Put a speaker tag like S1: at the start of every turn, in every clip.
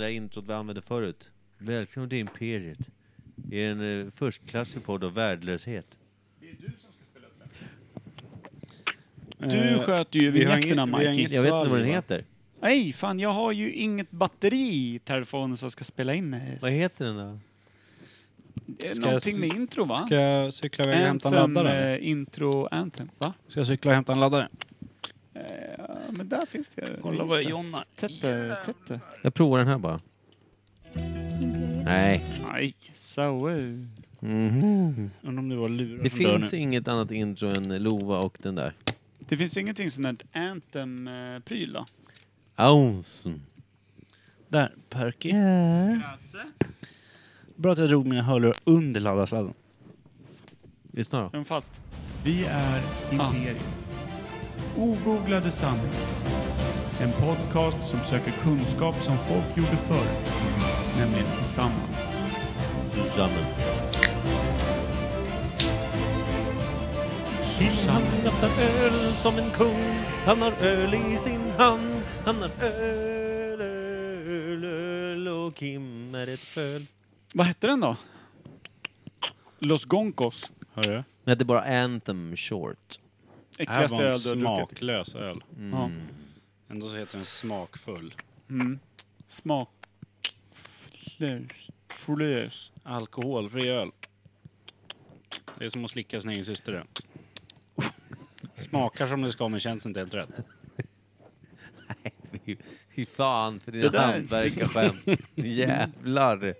S1: det där introt vi använde förut. Välkommen till Imperiet. I en eh, förstklassig podd av värdelöshet.
S2: Du sköter ju
S3: Eh, vi har
S2: vinjetterna
S3: inget- vi har
S2: Mike.
S3: inget-
S1: Jag vet inte vad den
S3: va?
S1: heter.
S2: Nej, fan jag har ju inget batteri i telefonen som ska spela in. eh, s-
S1: Vad heter den då?
S2: eh,
S3: Ska jag-
S2: Någonting med intro va?
S3: Ska jag cykla iväg och hämta en
S2: Anthem,
S3: laddare? eller?
S2: eh, intro anthem. Va?
S3: Ska jag cykla och hämta en laddare?
S2: Ja, men där finns det.
S3: Jonna...
S2: Tätte, tätte.
S1: Jag provar den här bara. Nej.
S2: Nej, Oh, sour.
S3: Undrar om det var lurar
S1: Det
S3: som dör
S1: finns
S3: nu.
S1: inget annat intro än Lova och den där.
S2: Det finns ingenting sånt där anthem-pryl då?
S1: Ounsen.
S3: Där, Perky.
S1: Eh.
S3: Bra att jag drog mina hörlurar under laddarsladden.
S1: Lyssna
S2: Är
S1: då.
S2: de fast? Ah.
S4: Vi är Imperiet. Ogooglade sanningar. En podcast som söker kunskap som folk gjorde förr. Nämligen tillsammans.
S1: Susanne.
S2: Susanne.
S1: Han öppnar öl som en kung. Han har öl i sin hand. Han har öl, öl, öl och Kim är ett föl.
S2: Vad hette den då? Los Goncos.
S3: Hör du?
S1: Det heter bara Anthem Short.
S3: Det här
S2: Äckligaste
S3: var en
S2: öl du har druckit.
S3: smaklös öl.
S2: Ja.
S1: Mm.
S3: Ändå så heter den smakfull.
S2: Mm. Smak. Flös. Flös.
S3: Alkoholfri öl. Det är som att slicka sin egen syster det. Smakar som det ska men känns inte helt rätt.
S1: Fy- Fy fan för
S2: Det
S1: dina
S2: där-
S1: hantverkarskämt. Jävlar.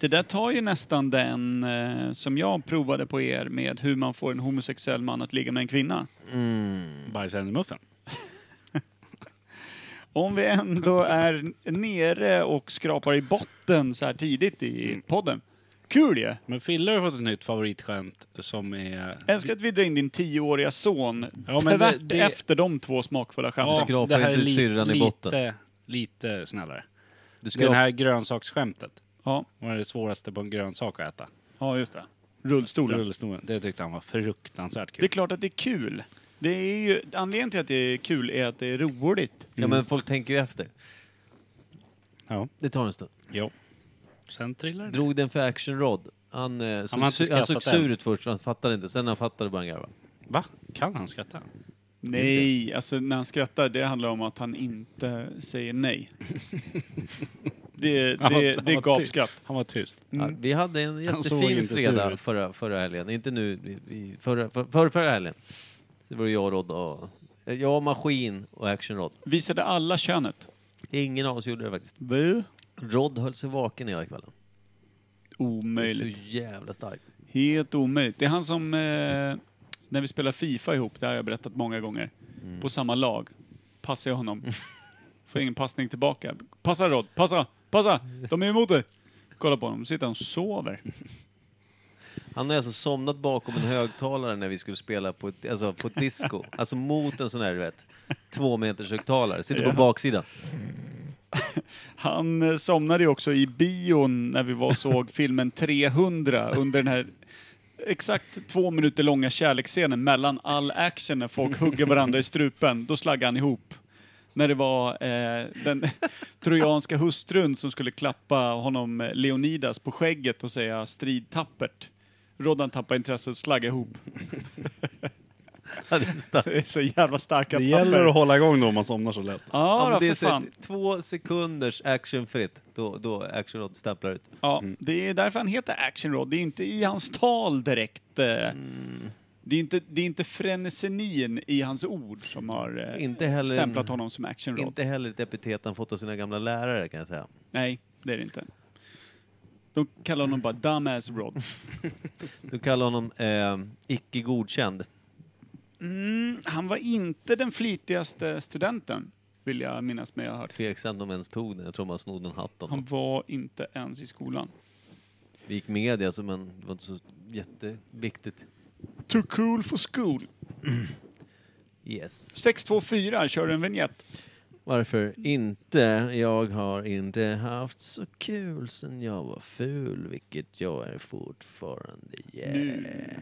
S2: Det där tar ju nästan den eh, som jag provade på er med hur man får en homosexuell man att ligga med en kvinna.
S3: Bajsaren i muffen.
S2: Om vi ändå är nere och skrapar i botten så här tidigt
S3: Mm.
S2: i podden. Kul ju!
S3: Men Fille har fått ett nytt favoritskämt som är...
S2: Älskar att vi drar in din tioåriga son
S3: Ja, men
S2: tvärt
S3: det- det-
S2: efter de två smakfulla skämten.
S1: skrapar inte
S3: li-
S1: syrran i botten.
S3: Lite, lite snällare.
S1: Du
S3: Det här grönsaksskämtet.
S2: Ja.
S3: Vad är det svåraste på en grönsak att äta?
S2: ja, just det. Rullstolen.
S3: Rullstolen. Det tyckte han var fruktansvärt
S2: Det är
S3: kul.
S2: klart att det är kul. Det är ju, anledningen till att det är kul är att det är roligt.
S1: Ja men folk tänker ju efter.
S3: Ja.
S1: Det tar en stund.
S3: Jo. Sen trillade det.
S1: Drog den för Action Rod. Han, eh, såg,
S3: har inte
S1: su- han såg
S3: skrattat
S1: sur
S3: än.
S1: ut först, han fattade inte. Sen när han fattade började han garva.
S3: Va? Kan han skratta?
S2: Nej, alltså när han skrattar, det handlar om att han inte säger nej. Det,
S3: Han var-
S2: det,
S3: han
S2: det är
S3: var ty-
S2: gapskratt.
S3: Han var tyst.
S1: Ja, vi hade en
S3: Mm. såg
S1: jättefin
S3: inte sur
S1: fredag
S3: ut.
S1: förra, förra helgen. Inte nu, i- i- förra, för, förra, förra helgen. Det var det jag, Rod och... eh, Jag, Maskin och Action Rod.
S2: Visade alla könet.
S1: Ingen av oss gjorde det faktiskt.
S2: Bu?
S1: Rod höll sig vaken hela kvällen. Det är
S2: Omöjligt.
S1: Så jävla starkt.
S2: Helt omöjligt. Det är han som, eh, när vi spelar Fifa ihop, det har jag berättat många gånger,
S3: Mm.
S2: på samma lag, passar jag honom. Får ingen passning tillbaka. Passa Rod, passa, passa! De är emot dig! Kolla på honom, sitter han och sover.
S1: Han har alltså somnat bakom en högtalare när vi skulle spela på ett, alltså på ett disco. Alltså mot en sån här, du vet, två meters högtalare. Sitter på baksidan.
S2: Han eh, somnade ju också i bion när vi var och såg filmen 300 under den här exakt två minuter långa kärleksscenen mellan all action när folk hugger varandra i strupen. Då slaggade han ihop. När det var eh, den trojanska hustrun som skulle klappa honom, eh, Leonidas, på skägget och säga strid tappert. Roddan tappade intresset och slaggade ihop.
S1: Ja, det är starkt.
S2: Det är så jävla starka
S3: hålla igång då om man somnar så lätt.
S2: Ja,
S1: Ja,
S2: då,
S1: men det är
S2: för
S1: så här,
S2: fan.
S1: två sekunders actionfritt, då, då Action Rod stapplar ut.
S2: Ja, det är därför han heter Action Rod. Det är inte i hans tal direkt. eh,
S1: Mm.
S2: Det, är inte, det är inte frenesenin i hans ord som har eh,
S1: Inte heller-
S2: stämplat honom som Action Rod.
S1: Inte heller ett epitet han fått av sina gamla lärare kan jag säga.
S2: Nej, det är det inte. De kallar honom bara Dumbass Rod.
S1: Du kallar honom eh, icke godkänd.
S2: Mm, han var inte den flitigaste studenten, vill jag minnas med jag har hört.
S1: Tveksamt om ens tog den. Jag tror man snodde en hatt av
S2: Han
S1: honom.
S2: var inte ens i skolan.
S1: Vi gick med det, alltså, men det var inte så jätteviktigt.
S2: Too cool for school.
S1: Yes.
S2: 624 kör en vignett.
S1: Varför inte? Jag har inte haft så kul sen jag var ful, vilket jag är fortfarande. Yeah.
S5: Imperiet.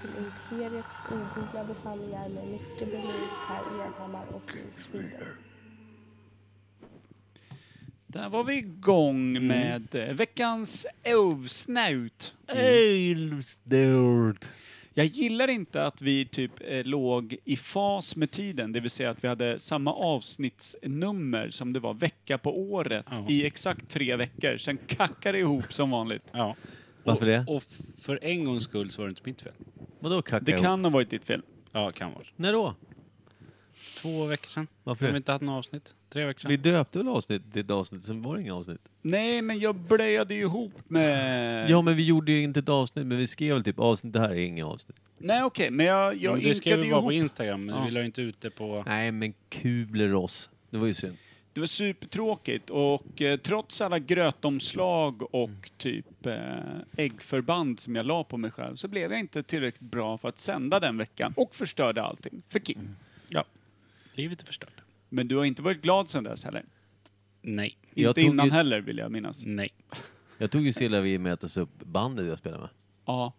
S5: till Imperiet ogooglade sanningar med Micke Berlin, Per Evhammar och Jim Sweden.
S2: Där var vi
S1: Mm.
S2: igång med eh, veckans älvsnut.
S1: Älvstort.
S2: Jag gillar inte att vi typ eh, låg i fas med tiden, det vill säga att vi hade samma avsnittsnummer som det var vecka på året
S3: Ja.
S2: i exakt tre veckor. Sen kackar det ihop som vanligt.
S3: Ja.
S1: Varför
S3: och,
S1: det?
S3: Och f- för en gångs skull så var det inte mitt fel.
S1: Vadå kacka
S2: Det
S1: ihop?
S2: kan ha varit ditt fel.
S3: Ja, kan vara.
S1: När då?
S3: Två veckor sedan.
S1: Varför
S3: Har
S1: det?
S3: vi inte haft något avsnitt? Tre veckor sedan.
S1: Vi döpte väl avsnittet till ett avsnitt, sen var det inga avsnitt.
S2: Nej, men jag blöjade ju ihop med...
S1: Ja, men vi gjorde ju inte ett avsnitt, men vi skrev väl typ avsnitt, det här är inga avsnitt.
S2: Nej, okej, men jag,
S3: Ja,
S2: jag
S3: men det skrev
S2: inkade
S3: vi
S2: ihop.
S3: bara på Instagram, men
S2: Ja.
S3: vi la ju inte ut det på...
S1: Nej, men Kubleross. Det var ju synd.
S2: Det var supertråkigt och eh, trots alla grötomslag
S1: Mm.
S2: och typ eh, äggförband som jag la på mig själv så blev jag inte tillräckligt bra för att sända den veckan och förstörde allting för Kim.
S1: Mm.
S3: Ja. Livet är förstört.
S2: Men du har inte varit glad sedan dess heller.
S3: Nej.
S1: Jag
S2: inte
S1: tog
S2: innan
S1: ju- Mm.
S2: heller vill jag minnas.
S3: Nej.
S1: Jag tog ju så illa vid mig att äta upp bandet jag spelade med.
S2: Ja.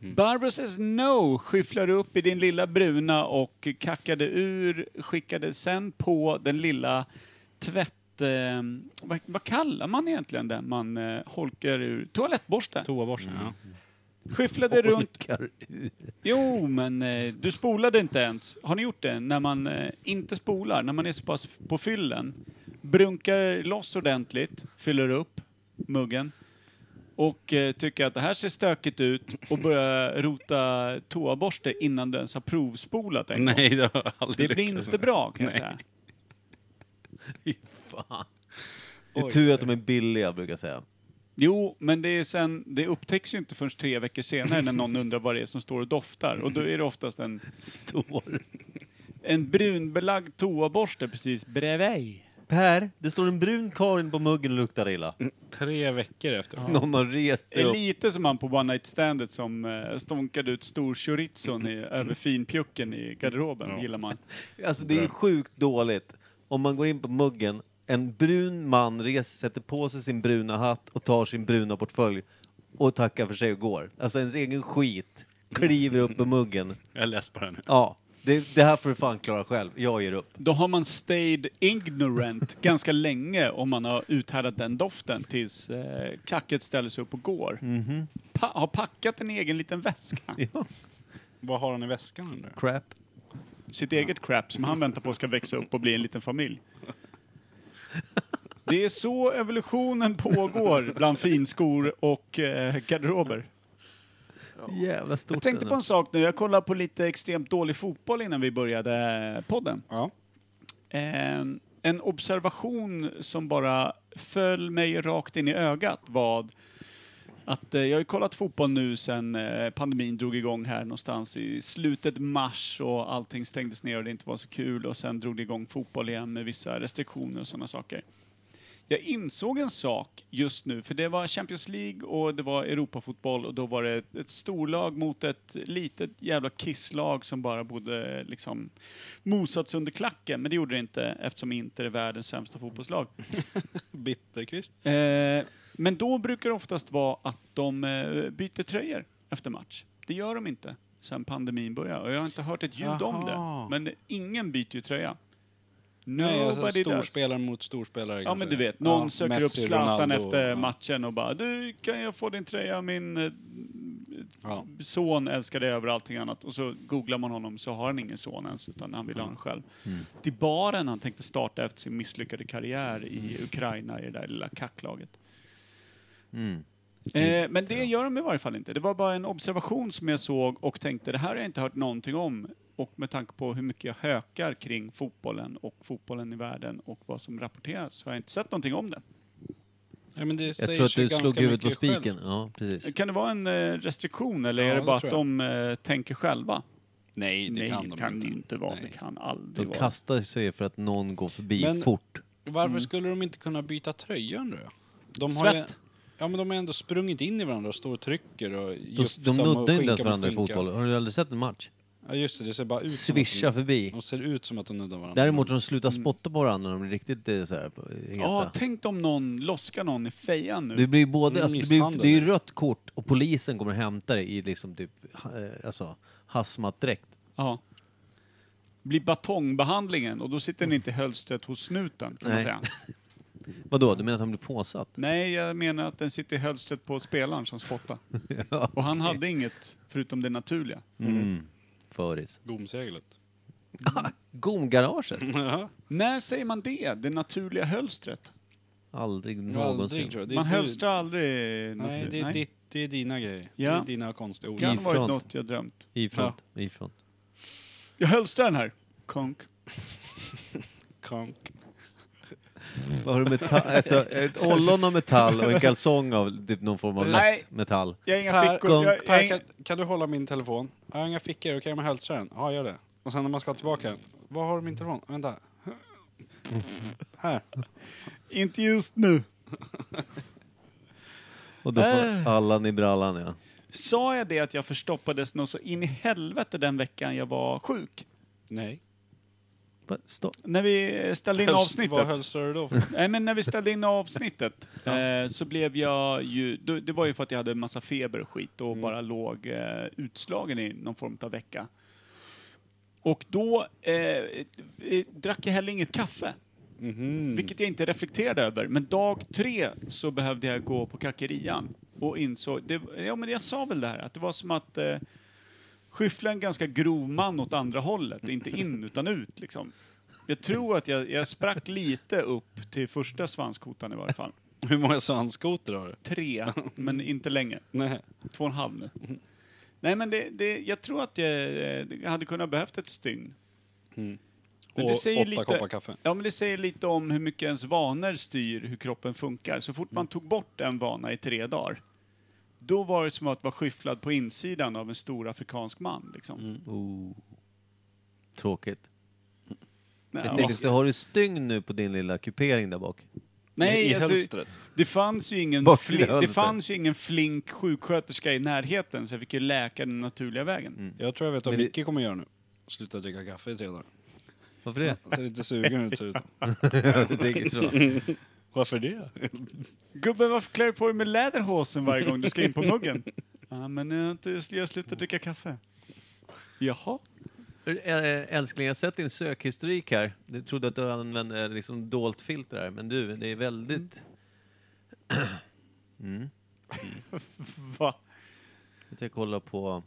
S1: Mm.
S2: Barbro says no skyfflar upp i din lilla bruna och kackade ur, skickade sen på den lilla tvätt... Eh, vad, vad kallar man egentligen den man eh, holkar ur? Toalettborste.
S3: Toaborsten, ja.
S2: Skyfflade runt.
S1: Orkar ur.
S2: Jo, men eh, du spolade inte ens. Har ni gjort det? När man eh, inte spolar, när man är så pass på fyllen. Brunkar loss ordentligt, fyller upp muggen och eh, tycker att det här ser stökigt ut och börjar rota toaborste innan du ens har provspolat en gång.
S3: Nej, det har jag aldrig
S2: Det blir
S3: lyckats
S2: inte
S3: med.
S2: bra kan jag säga.
S1: Fy fan. Det är tur att de är billiga, brukar jag säga.
S2: Jo, men det, är sen, det upptäcks ju inte förrän tre veckor senare när någon undrar vad det är som står och doftar. Och då är det oftast en,
S1: Står.
S2: en brunbelagd toaborste precis bredvid.
S1: Per, det står en brun Karin på muggen och luktar illa.
S3: Tre veckor efter.
S1: Någon har rest sig
S2: Det är
S1: upp.
S2: lite som han på One Night Standet som eh, stånkade ut stor chorizon i, över finpjucken i garderoben,
S3: Ja.
S2: gillar man.
S1: Alltså det är sjukt dåligt om man går in på muggen, en brun man reser, sätter på sig sin bruna hatt och tar sin bruna portfölj och tackar för sig och går. Alltså ens egen skit kliver upp på muggen.
S3: Jag läste på den nu.
S1: Ja, det, det här får du fan klara själv. Jag ger upp.
S2: Då har man stayed ignorant ganska länge om man har uthärdat den doften tills eh, kacket ställer sig upp och går. Pa- har packat en egen liten väska.
S1: Ja,
S3: Vad har han i väskan nu?
S1: crap.
S2: Sitt eget crap som han väntar på ska växa upp och bli en liten familj. Det är så evolutionen pågår bland finskor och eh, garderober.
S1: Jävla stort.
S2: Jag tänkte på en sak nu. Jag kollade på lite extremt dålig fotboll innan vi började eh, podden.
S3: Ja.
S2: Eh, en observation som bara föll mig rakt in i ögat var att eh, jag har ju kollat fotboll nu sedan eh, pandemin drog igång här någonstans i slutet mars och allting stängdes ner och det inte var så kul och sen drog det igång fotboll igen med vissa restriktioner och sådana saker. Jag insåg en sak just nu, för det var Champions League och det var Europafotboll och då var det ett- ett storlag mot ett litet jävla kisslag som bara borde liksom mosats under klacken, men det gjorde det inte eftersom Inter är världens sämsta fotbollslag.
S3: Bitterkvist.
S2: Eh, men då brukar det oftast vara att de eh, byter tröjor efter match. Det gör de inte sen pandemin började och jag har inte hört ett ljud om
S3: Jaha.
S2: det. Men ingen byter ju tröja.
S3: Nej, alltså
S2: Nobody does.
S3: storspelare mot storspelare
S2: Ja
S3: kanske.
S2: men du vet, någon
S3: Ja,
S2: söker
S3: Messi,
S2: upp Zlatan
S3: Ronaldo,
S2: efter
S3: ja.
S2: matchen och bara du, kan jag få din tröja? Min eh,
S3: Ja.
S2: son älskar dig över allting annat. Och så googlar man honom så har han ingen son ens, utan han vill ha den själv.
S3: Mm.
S2: Till baren han tänkte starta efter sin misslyckade karriär i Ukraina, i det där lilla kacklaget.
S3: Mm.
S2: Eh, men det gör de i varje fall inte. Det var bara en observation som jag såg och tänkte det här har jag inte hört någonting om. Och med tanke på hur mycket jag hökar kring fotbollen och fotbollen i världen och vad som rapporteras så har jag inte sett någonting om det.
S3: Ja, men det
S1: Jag
S3: säger
S1: tror att
S3: sig
S1: du slog
S3: ganska
S1: huvudet på
S3: mycket själv.
S1: spiken. Ja, precis.
S2: Kan det vara en eh, restriktion eller
S3: Ja,
S2: är det
S3: det
S2: bara att
S3: tror
S2: de eh, tänker själva?
S3: Nej, det
S2: Nej,
S3: kan
S2: det
S3: de
S2: kan
S3: inte.
S2: det inte vara. Det
S3: Nej.
S2: kan aldrig
S1: De
S2: vara.
S1: kastar sig för att någon går förbi
S3: Men-
S1: fort.
S3: Varför
S1: Mm.
S3: skulle de inte kunna byta tröja nu då? De Ju,
S2: Svett.
S3: ja, men de har ändå sprungit in i varandra och står och trycker och
S1: De,
S3: jufsar
S1: de
S3: och
S1: nuddar inte
S3: skinka
S1: ens
S3: mot
S1: varandra i
S3: skinka.
S1: fotboll. Har du aldrig sett en match?
S3: Ja, just det. Det ser bara ut som att
S1: Svischa förbi.
S3: De, de ser ut som att de nuddar varandra.
S1: Däremot har de slutat spotta på varandra när de är riktigt eh, så här, eh, heta.
S2: Ja, tänk om någon loskar någon i fejan nu.
S1: Det blir både, alltså det, blir,
S3: Misshandel.
S1: det är ju rött kort och polisen kommer och hämtar dig i liksom typ eh, alltså, hazmat-dräkt.
S2: Ja. Blir batongbehandlingen och då sitter den inte i hölstret hos snuten kan man
S1: Nej.
S2: säga.
S1: Vadå, du menar att han blev påsatt?
S2: Nej, jag menar att den sitter i hölstret på spelaren som spottar.
S1: Ja.
S2: Och han hade inget förutom det naturliga.
S1: Mm. Föris.
S3: Gomseglet.
S1: Gomgaraget?
S2: När säger man det? Det naturliga hölstret?
S1: Aldrig
S3: Aldrig,
S1: någonsin.
S3: tror jag.
S2: Man
S3: du-
S2: hölstrar aldrig
S3: Nej,
S2: natur-
S3: det är, ditt, det är dina grejer.
S2: Ja.
S3: Det är dina konstord.
S2: kan ha varit
S1: Ifrån.
S2: något jag drömt.
S1: Ifrån. Ifrån.
S2: Jag hölstrar den här. Konk.
S3: Konk.
S1: Vad har du metall, alltså, ett ollon av metall och en kalsong av typ någon form av
S2: Nej.
S1: lätt metall.
S2: Jag har inga
S3: Per,
S2: fickor. Jag, jag, har
S3: per
S2: inga-
S3: kan, kan du hålla min telefon? Jag har inga fickor, okej men hölstrar den. Ja, gör det. Och sen när man ska tillbaka den. Vad har du min telefon? Vänta. Här.
S2: inte just nu.
S1: Och då får Allan i brallan, ja.
S2: Sa jag det att jag förstoppades något så in i helvete den veckan jag var sjuk?
S3: Nej.
S1: Va, Stopp.
S2: När vi ställde in
S3: Höls-
S2: avsnittet.
S3: Vad hölstrar du då för?
S2: Nej, men när vi ställde in avsnittet eh, så blev jag ju... då- Det var ju för att jag hade en massa feber och skit
S3: Mm.
S2: och bara låg eh, utslagen i någon form av vecka. Och då eh, eh, drack jag heller inget kaffe.
S3: Mm. Mhm.
S2: Vilket jag inte reflekterade över. Men dag tre så behövde jag gå på kackerian. Och insåg... Det, ja, men jag sa väl det här att det var som att... Eh, skyffla en ganska grov man åt andra hållet. Inte in utan ut liksom. Jag tror att jag, jag sprack lite upp till första svanskotan i varje fall.
S3: Hur många sandskoter har du?
S2: Tre, men inte länge.
S3: Nej.
S2: Två och en halv nu. Nej men det, det, jag tror att jag, eh, jag hade kunnat behövt ett stygn. Men
S3: Mm. Och
S2: det säger
S3: åtta
S2: lite-
S3: koppar kaffe.
S2: Ja men det säger lite om hur mycket ens vanor styr hur kroppen funkar. Så fort
S1: Mm.
S2: man tog bort en vana i tre dagar, då var det som att vara skyfflad på insidan av en stor afrikansk man liksom.
S1: Oh. Tråkigt.
S2: Nej,
S1: Jag
S2: ja.
S1: tänkte, så har du stygn nu på din lilla kupering där bak?
S2: Nej,
S3: I
S2: alltså,
S3: hölstret.
S2: Det fanns, ju ingen
S1: Varför i
S2: fli- det
S1: helvete?
S2: fanns ju ingen flink sjuksköterska i närheten så jag fick ju läka den naturliga vägen.
S1: Mm.
S3: Jag tror jag vet vad
S1: Men det-
S3: Micke kommer göra nu. Sluta dricka kaffe i tre dagar.
S1: Varför det?
S3: Han Ser lite sugen ut ser det ut.
S1: Jag tänker så.
S3: Varför det?
S2: Gubben, varför klär du på dig med läderhosen varje gång du ska in på muggen? Ja, men jag har inte- jag slutar dricka kaffe. Jaha?
S1: Ä- eh, Älskling, jag har sett din sökhistorik här. Jag trodde att du använde liksom dolt filter här, men du, det är väldigt...
S2: Va?
S1: Jag kollar på...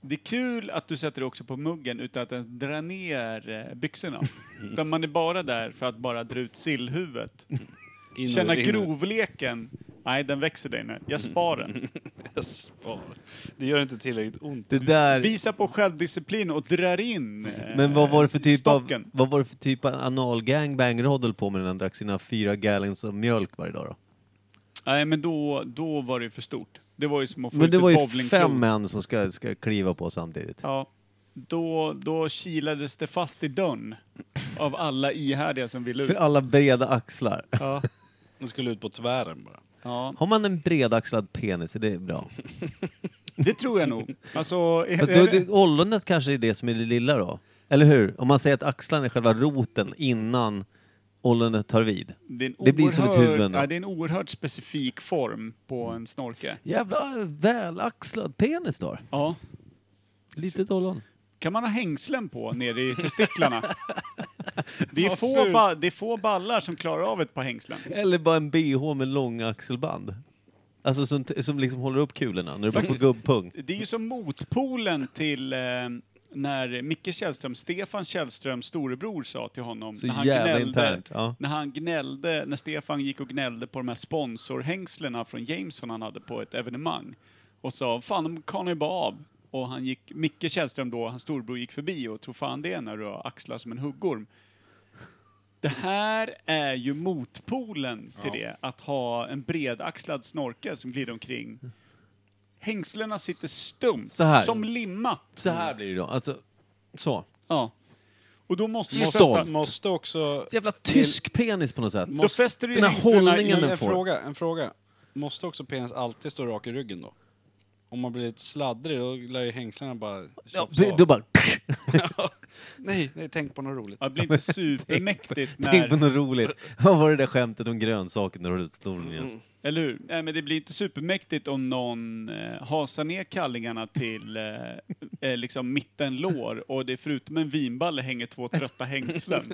S2: Det är kul att du sätter dig också på muggen utan att ens dra ner eh, byxorna. Utan man är bara där för att bara dra ut sillhuvudet.
S3: In och
S2: Känna
S3: in och-
S2: grovleken. Nej, den växer dig nu. Jag spar
S1: Mm.
S2: den.
S3: Jag spar. Det gör inte tillräckligt ont.
S1: Det där...
S2: Visa på självdisciplin och drar in eh,
S1: Men vad var det för typ av,
S2: stocken.
S1: vad var det för typ av anal gangbang du höll på med när han drack sina fyra gallons av mjölk varje dag då?
S2: Nej, men då, då var det ju för stort. Det var ju som att få
S1: Men
S2: ut
S1: det
S2: ett
S1: var ju
S2: bowlingklot.
S1: fem män som ska, ska kliva på samtidigt.
S2: Ja. Då, då kilades det fast i dörren av alla ihärdiga som ville ut.
S1: För alla breda axlar.
S2: Ja.
S3: Det skulle ut på tvären bara.
S2: Ja.
S1: Har man en bredaxlad penis, är det bra?
S2: Det tror jag nog. Alltså, är,
S1: Fast då, det, ollonet kanske är det som är det lilla då? Eller hur? Om man säger att axlarna är själva roten innan ollonet tar vid.
S2: det, är en
S1: det blir som ett
S2: oerhörd-
S1: huvud då.
S2: Ja, det är en oerhört specifik form på en snorke.
S1: Jävla välaxlad penis då.
S2: Ja.
S1: Litet ollon.
S2: Kan man ha hängslen på nere i testiklarna? Det är,
S3: Vad
S2: få
S3: fult.
S2: ba, det är få ballar som klarar av ett par hängslen.
S1: Eller bara en bh med långa axelband. Alltså som, t- som liksom håller upp kulorna när du bara får gubbpung.
S2: Det är ju som motpolen till eh, när Micke Källström, Stefan Källströms storebror, sa till honom
S1: Så
S2: när han
S1: jävla
S2: gnällde,
S1: internt, ja.
S2: när han gnällde, när Stefan gick och gnällde på de här sponsorhängslena från Jameson han hade på ett evenemang och sa fan de kan ju bara av. Och han gick, Micke Källström då, hans storbror, gick förbi och tror fan det är när du har axlar som en huggorm. Det här är ju motpolen till det, att ha en bredaxlad snorkel som glider omkring. Hängslena sitter stumt,
S1: Mm. Så här.
S2: som limmat. Mm.
S1: Så här blir det då. Alltså, så.
S2: Ja. Och då måste du
S3: Måste,
S2: fästa...
S3: måste också...
S1: Så jävla tysk penis på något sätt.
S2: Då fäster du ju
S1: Den här
S2: hängslena i...
S1: hållningen
S3: Men
S1: den
S3: en
S1: får.
S3: fråga, en fråga. Måste också penis alltid stå rak i ryggen då? Om man blir lite sladdrig då lär ju hängslena bara...
S1: Ja,
S3: tjofsa av.
S1: då bara...
S3: Nej, nej, tänk på något roligt.
S2: Ja, Det blir inte supermäktigt
S1: Tänk på
S2: när...
S1: något roligt. Vad var det där skämtet om grönsaker när du höll ut stolen igen?
S2: Eller hur? Nej, men det blir inte supermäktigt om någon eh, hasar ner kallingarna till eh, eh, liksom mittenlår och det förutom en vinballe hänger två trötta hängslen.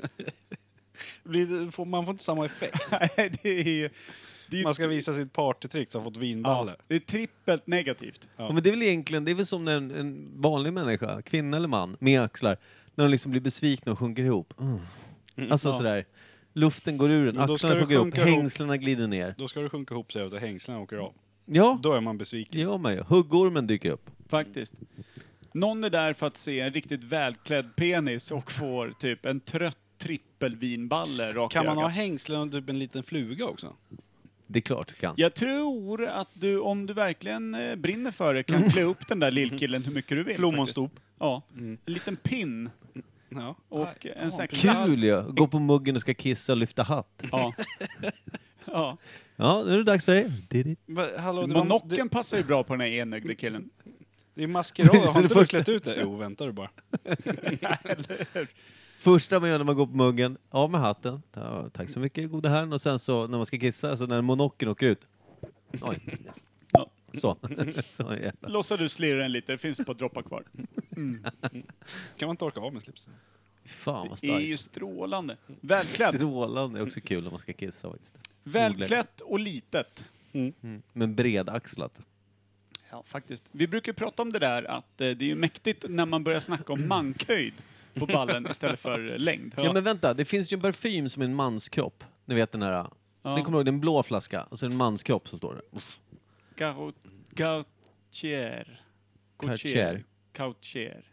S3: Det blir- får- Man får inte samma effekt.
S2: Nej, det är ju... Det är ju
S3: Man ska visa sitt partytrick som fått vinballe.
S2: Ja, det är trippelt negativt.
S1: Ja. men det är väl egentligen, det är väl som när en, en vanlig människa, kvinna eller man, med axlar, när de liksom blir besvikna och sjunker ihop. Mm. Alltså sådär, luften går ur den,
S3: Men då ska
S1: axlarna
S3: du
S1: sjunker ihop,
S3: sjunka ihop.
S1: hängslena glider ner.
S3: Då ska du sjunka ihop sig och hängslena åker av.
S1: Ja,
S3: Då är man besviken.
S1: det gör man ju. Huggormen dyker upp.
S2: Faktiskt. Någon är där för att se en riktigt välklädd penis och får typ en trött trippelvinballe rakt
S3: Kan
S2: i
S3: man ha
S2: ögat.
S3: hängslen och typ en liten fluga också?
S1: Det är klart du kan.
S2: Jag tror att du, om du verkligen eh, brinner för det,
S3: Mm.
S2: kan klä upp den där lillkillen hur mycket du vill.
S3: Plommonstop.
S2: faktiskt. Ja. En liten pin
S3: Mm. Ja.
S2: och en sån här knall.
S1: Kul ju! Gå på muggen och ska kissa och lyfta hatt.
S2: Ja. ja.
S1: Ja, nu är det dags för dig. Det är det.
S3: Men Hallå, det, var, det,
S2: Monocken passar ju bra på den här enögde killen.
S3: det är maskerad,
S1: Så det
S3: har inte du
S1: första-
S3: klätt ut det? Jo, vänta du bara.
S1: Första man gör när man går på muggen, av med hatten. Ta, tack så mycket gode herren. Och sen så när man ska kissa, så när monocken åker ut. Oj.
S2: Ja.
S1: Så. så jävla.
S2: Låtsar du slirra den lite, det finns ett par droppar kvar.
S3: Kan man inte orka av med slipsen?
S1: Fan vad
S2: Det är
S1: starkt.
S2: ju strålande. Välklädd.
S1: Strålande är också kul om man ska kissa faktiskt.
S2: Välklätt och litet.
S1: Men bredaxlat.
S2: Ja, faktiskt. Vi brukar prata om det där att eh, det är ju mäktigt när man börjar snacka om mankhöjd på ballen istället för eh, längd.
S1: Ja. men vänta, det finns ju en parfym som är en manskropp. Ni vet den här.
S2: Ja.
S1: Ni kommer ihåg, det är en blå flaska och så är det en manskropp som står där.
S2: Garot, Gautier.
S1: Cartier.
S2: Gautier.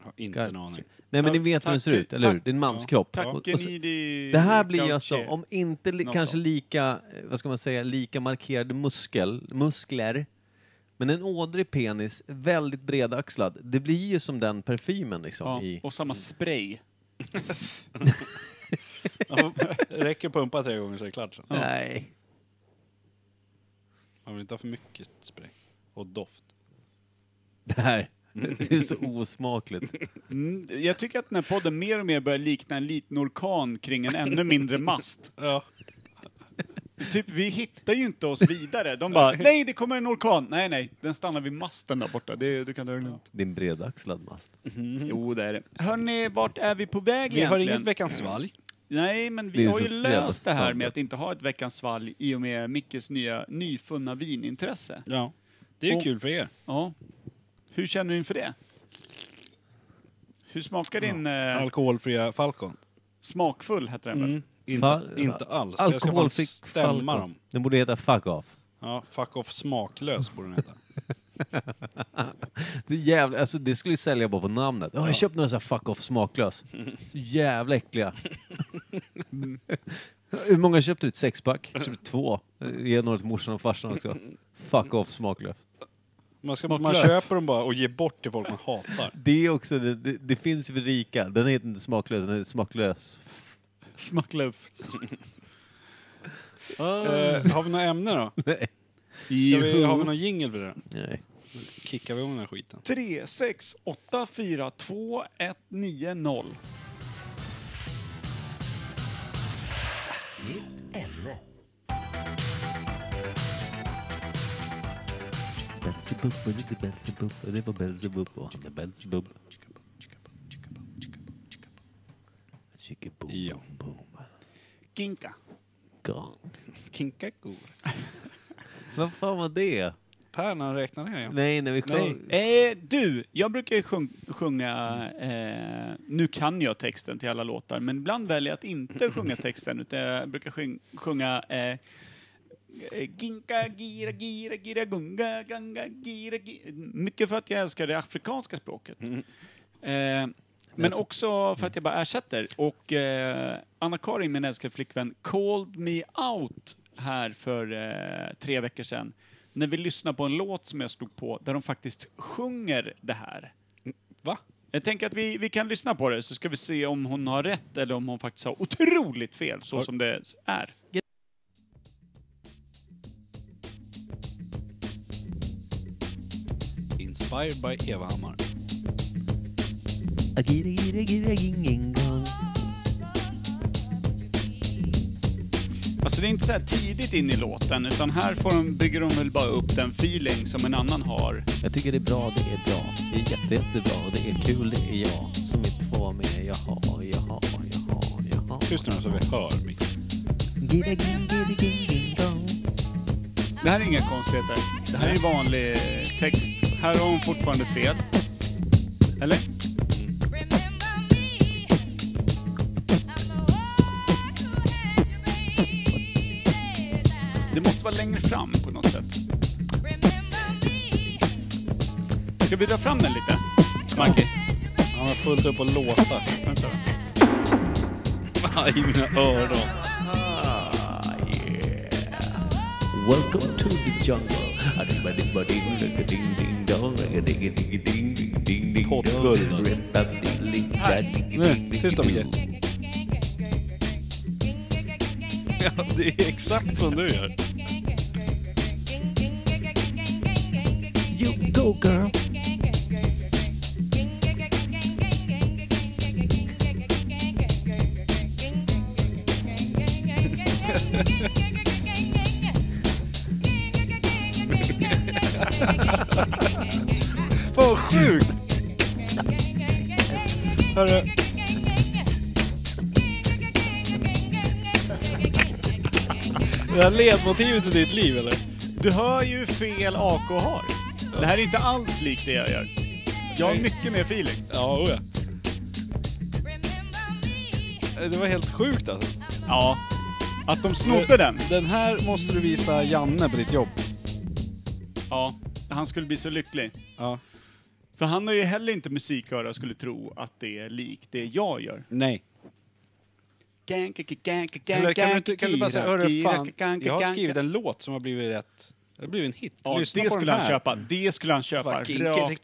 S3: Har inte en aning.
S1: Nej men ni vet hur den ser
S2: Tack-
S1: ut, eller hur? Det är en manskropp. Och- och så-
S2: Takenidi
S1: Det här blir ju alltså,
S2: Gautier.
S1: om inte li,
S2: Något
S1: kanske
S2: sånt.
S1: lika, eh, vad ska man säga, lika markerade muskel, muskler, men en ådrig penis, väldigt bredaxlad. Det blir ju som den parfymen liksom.
S2: Ja,
S1: I,
S2: och samma spray.
S3: Ja, Räcker att pumpa tre gånger så är det klart sen.
S1: Nej.
S3: Man vill inte ha för mycket spray. Och doft.
S1: Det här, det är så osmakligt.
S2: Mm, jag tycker att den här podden mer och mer börjar likna en liten orkan kring en ännu mindre mast.
S3: Ja.
S2: Typ, vi hittar ju inte oss vidare. De bara, nej det kommer en orkan. Nej, nej, den stannar vid masten där borta. Det, du kan ta det lugnt.
S1: Din bredaxlad mast.
S2: Jo, det är det. Hörni, vart är vi på väg
S3: Vi har
S2: egentligen?
S3: inget Veckans svalg.
S2: Nej, men vi
S1: Det är
S2: har
S1: så
S2: ju
S1: jävla
S2: löst det här
S1: standard.
S2: med att inte ha ett veckans svalg i och med Mickes nya, nyfunna vinintresse.
S3: Ja. Det är ju
S2: Och-
S3: kul för er.
S2: Ja. Hur känner du inför det? Hur smakar din eh,
S3: Alkoholfria Falcon.
S2: smakfull, heter den väl?
S3: Inte,
S1: Fal-
S3: inte alls. Alltså, jag ska fan
S1: Alkoholfritt
S3: stämma
S1: Falcon.
S3: dem.
S1: Den borde heta Fuck Off.
S3: Ja, fuck off smaklös borde den heta.
S1: Det, är jävla, alltså, det skulle ju sälja bara på namnet. Oh, jag köpte några så här Fuck Off smaklös. Så jävla äckliga. Hur många köpte du? Ett sexpack? Jag köpte två. Jag Ge några till morsan och farsan också. Fuck Off smaklös.
S3: Man, ska, man
S2: Smaklös.
S3: köper dem bara och ger bort till folk man hatar.
S1: Det är också, det, det, det finns ju för rika. Den heter inte smaklös, den heter smaklös.
S2: Smakluft.
S3: Eh, har vi några ämnen då? Ska vi, har vi någon jingel för det?
S1: Nej.
S3: Kickar vi om den här skiten?
S2: 3, 6, 8, 4, 2, 1, 9, 0.
S1: Belzebub, men inte Belzebub. Det var Belzebub och han är Belzebub. Chickaboo,
S3: Ja.
S1: boom,
S2: Kinka.
S1: gone.
S3: Kinkakor.
S1: Vad fan var det?
S3: Per, när han räknar ner igen.
S1: Nej, när vi sjöng...
S2: Eh, du, jag brukar ju sjung, sjunga... Eh, nu kan jag texten till alla låtar, men ibland väljer jag att inte sjunga texten, utan jag brukar sjung, sjunga... Eh, eh, Ginka, gira, gira, gira, gunga, ganga, gira, gira. Mycket för att jag älskar det afrikanska språket. Eh, men
S3: Alltså,
S2: också för att jag bara ersätter. Och eh, Anna-Karin, min älskade flickvän, called me out här för eh, tre veckor sedan. När vi lyssnade på en låt som jag slog på där de faktiskt sjunger det här.
S3: Va?
S2: Jag tänker att vi, vi kan lyssna på det så ska vi se om hon har rätt eller om hon faktiskt har otroligt fel så som det är.
S3: Inspired by Eva Hammar.
S1: I
S2: Alltså det är inte så här tidigt in i låten, utan här får de, bygger de väl bara upp den feeling som en annan har.
S1: Jag tycker det är bra, det är bra. Det är jätte, jättebra och det är kul, det är jag som inte får vara med. Jaha, jaha, jaha, jaha.
S3: Tyst nu så vi hör Micke.
S2: Det här är inga konstigheter. Det här är vanlig text. Här har hon fortfarande fel. Eller? Det måste vara längre fram på något sätt. Ska vi dra fram den lite? Macke?
S3: Han har fullt upp och låta.
S2: Vänta.
S3: Aj, mina öron.
S1: Welcome to the jungle.
S3: Pottguld, alltså. Nu, tyst då, Micke. Ja, det är exakt som du gör.
S1: You go girl.
S3: Fan vad sjukt! Hörru. Det här ledmotivet i ditt liv eller?
S2: Du hör ju hur fel AK har. Det här är inte alls likt det jag gör. Jag har mycket mer feeling.
S3: Ja, oja. Det var helt sjukt alltså.
S2: Ja. Att de snodde den.
S3: Den här måste du visa Janne på ditt jobb.
S2: Ja. Han skulle bli så lycklig.
S3: Ja.
S2: För han har ju heller inte musikhöra och skulle tro att det är likt det jag gör.
S3: Nej. Eller
S2: Eller
S3: kan du, inte, kan du bara säga, hörru fan, jag har skrivit en låt som har blivit rätt... Det har blivit en hit.
S2: Ja,
S3: Lyssna
S2: det
S3: på den
S2: skulle han
S3: här.
S2: köpa. Det skulle han köpa. Rakt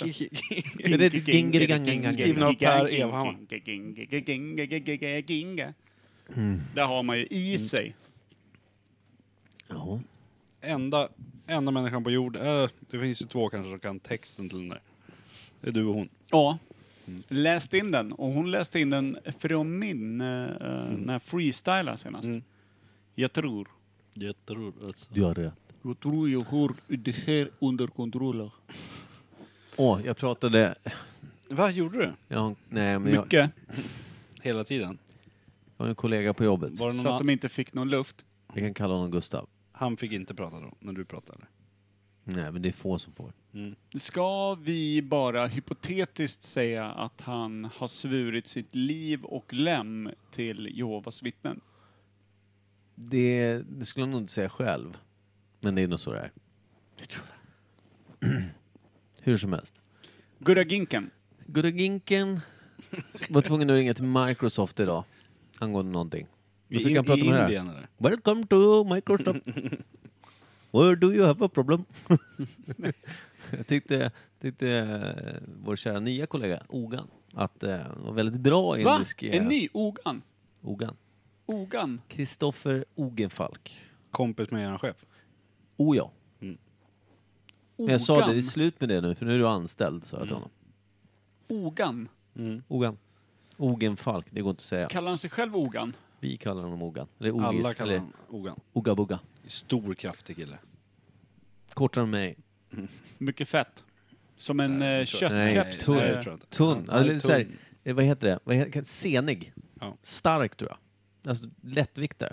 S2: av.
S1: Är det Gingeliganga?
S2: Skriven
S3: av Per Evhammar. Mm.
S2: Där har man ju i sig.
S1: Ja.
S3: Enda, enda människan på jorden, eh, det finns ju två kanske som kan texten till den där. Det är du och hon.
S2: Ja. Läste in den. Och hon läste in den från min, eh, eh,
S3: Mm.
S2: när jag freestylade senast. Jag tror.
S3: Jag tror alltså.
S1: Du har rätt.
S2: Jag tror jag har det här under kontroll.
S1: Åh, jag pratade...
S3: Vad gjorde du?
S1: Jag, nej, men jag, jag
S2: Mycket.
S3: Hela tiden?
S1: har en kollega på jobbet.
S3: Var det
S2: Så
S3: någon
S2: att
S3: annan?
S2: de inte fick någon luft.
S1: Vi kan kalla honom Gustav.
S3: Han fick inte prata då, när du pratade?
S1: Nej, men det är få som får.
S2: Ska vi bara hypotetiskt säga att han har svurit sitt liv och lem till Jehovas vittnen?
S1: Det, det skulle han nog inte säga själv. Men det är nog så det är. Det tror jag. Hur som helst.
S2: Gurra Ginken.
S1: Gurra Ginken var tvungen att ringa till Microsoft idag angående någonting. Då fick
S3: I
S1: han prata
S3: i
S1: med det här.
S3: Indien eller?
S1: Welcome to Microsoft. Where do you have a problem? jag tyckte, tyckte eh, vår kära nya kollega Ogan att eh, han var väldigt bra
S2: Va?
S1: indisk. eh,
S2: En ny Ogan?
S1: Ogan.
S2: Ogan?
S1: Kristoffer Ogenfalk.
S3: Kompis med eran chef?
S1: Oh ja. Men
S2: Ogan?
S1: jag sa det, det är slut med det nu för nu är du anställd, sa jag
S3: Mm.
S1: till honom.
S2: Ogan?
S1: Ogan. Ogenfalk, det går inte att säga.
S2: Kallar han sig själv Ogan?
S1: Vi kallar honom Ogan. Eller Ogis,
S3: Alla kallar
S1: eller
S3: honom Ogan.
S1: Oga Boga.
S3: Stor kraftig kille.
S1: Kortare än mig.
S2: Mycket fett. Som en eh,
S1: Nej,
S2: köttkeps.
S1: tunn.
S3: Nej,
S2: eh,
S3: det tror jag inte.
S1: Tunn.
S3: Ja,
S1: Eller så här,
S3: tunn.
S1: eh, vad heter det? Vad heter, senig.
S3: Ja.
S1: Stark, tror jag. Alltså lättviktare.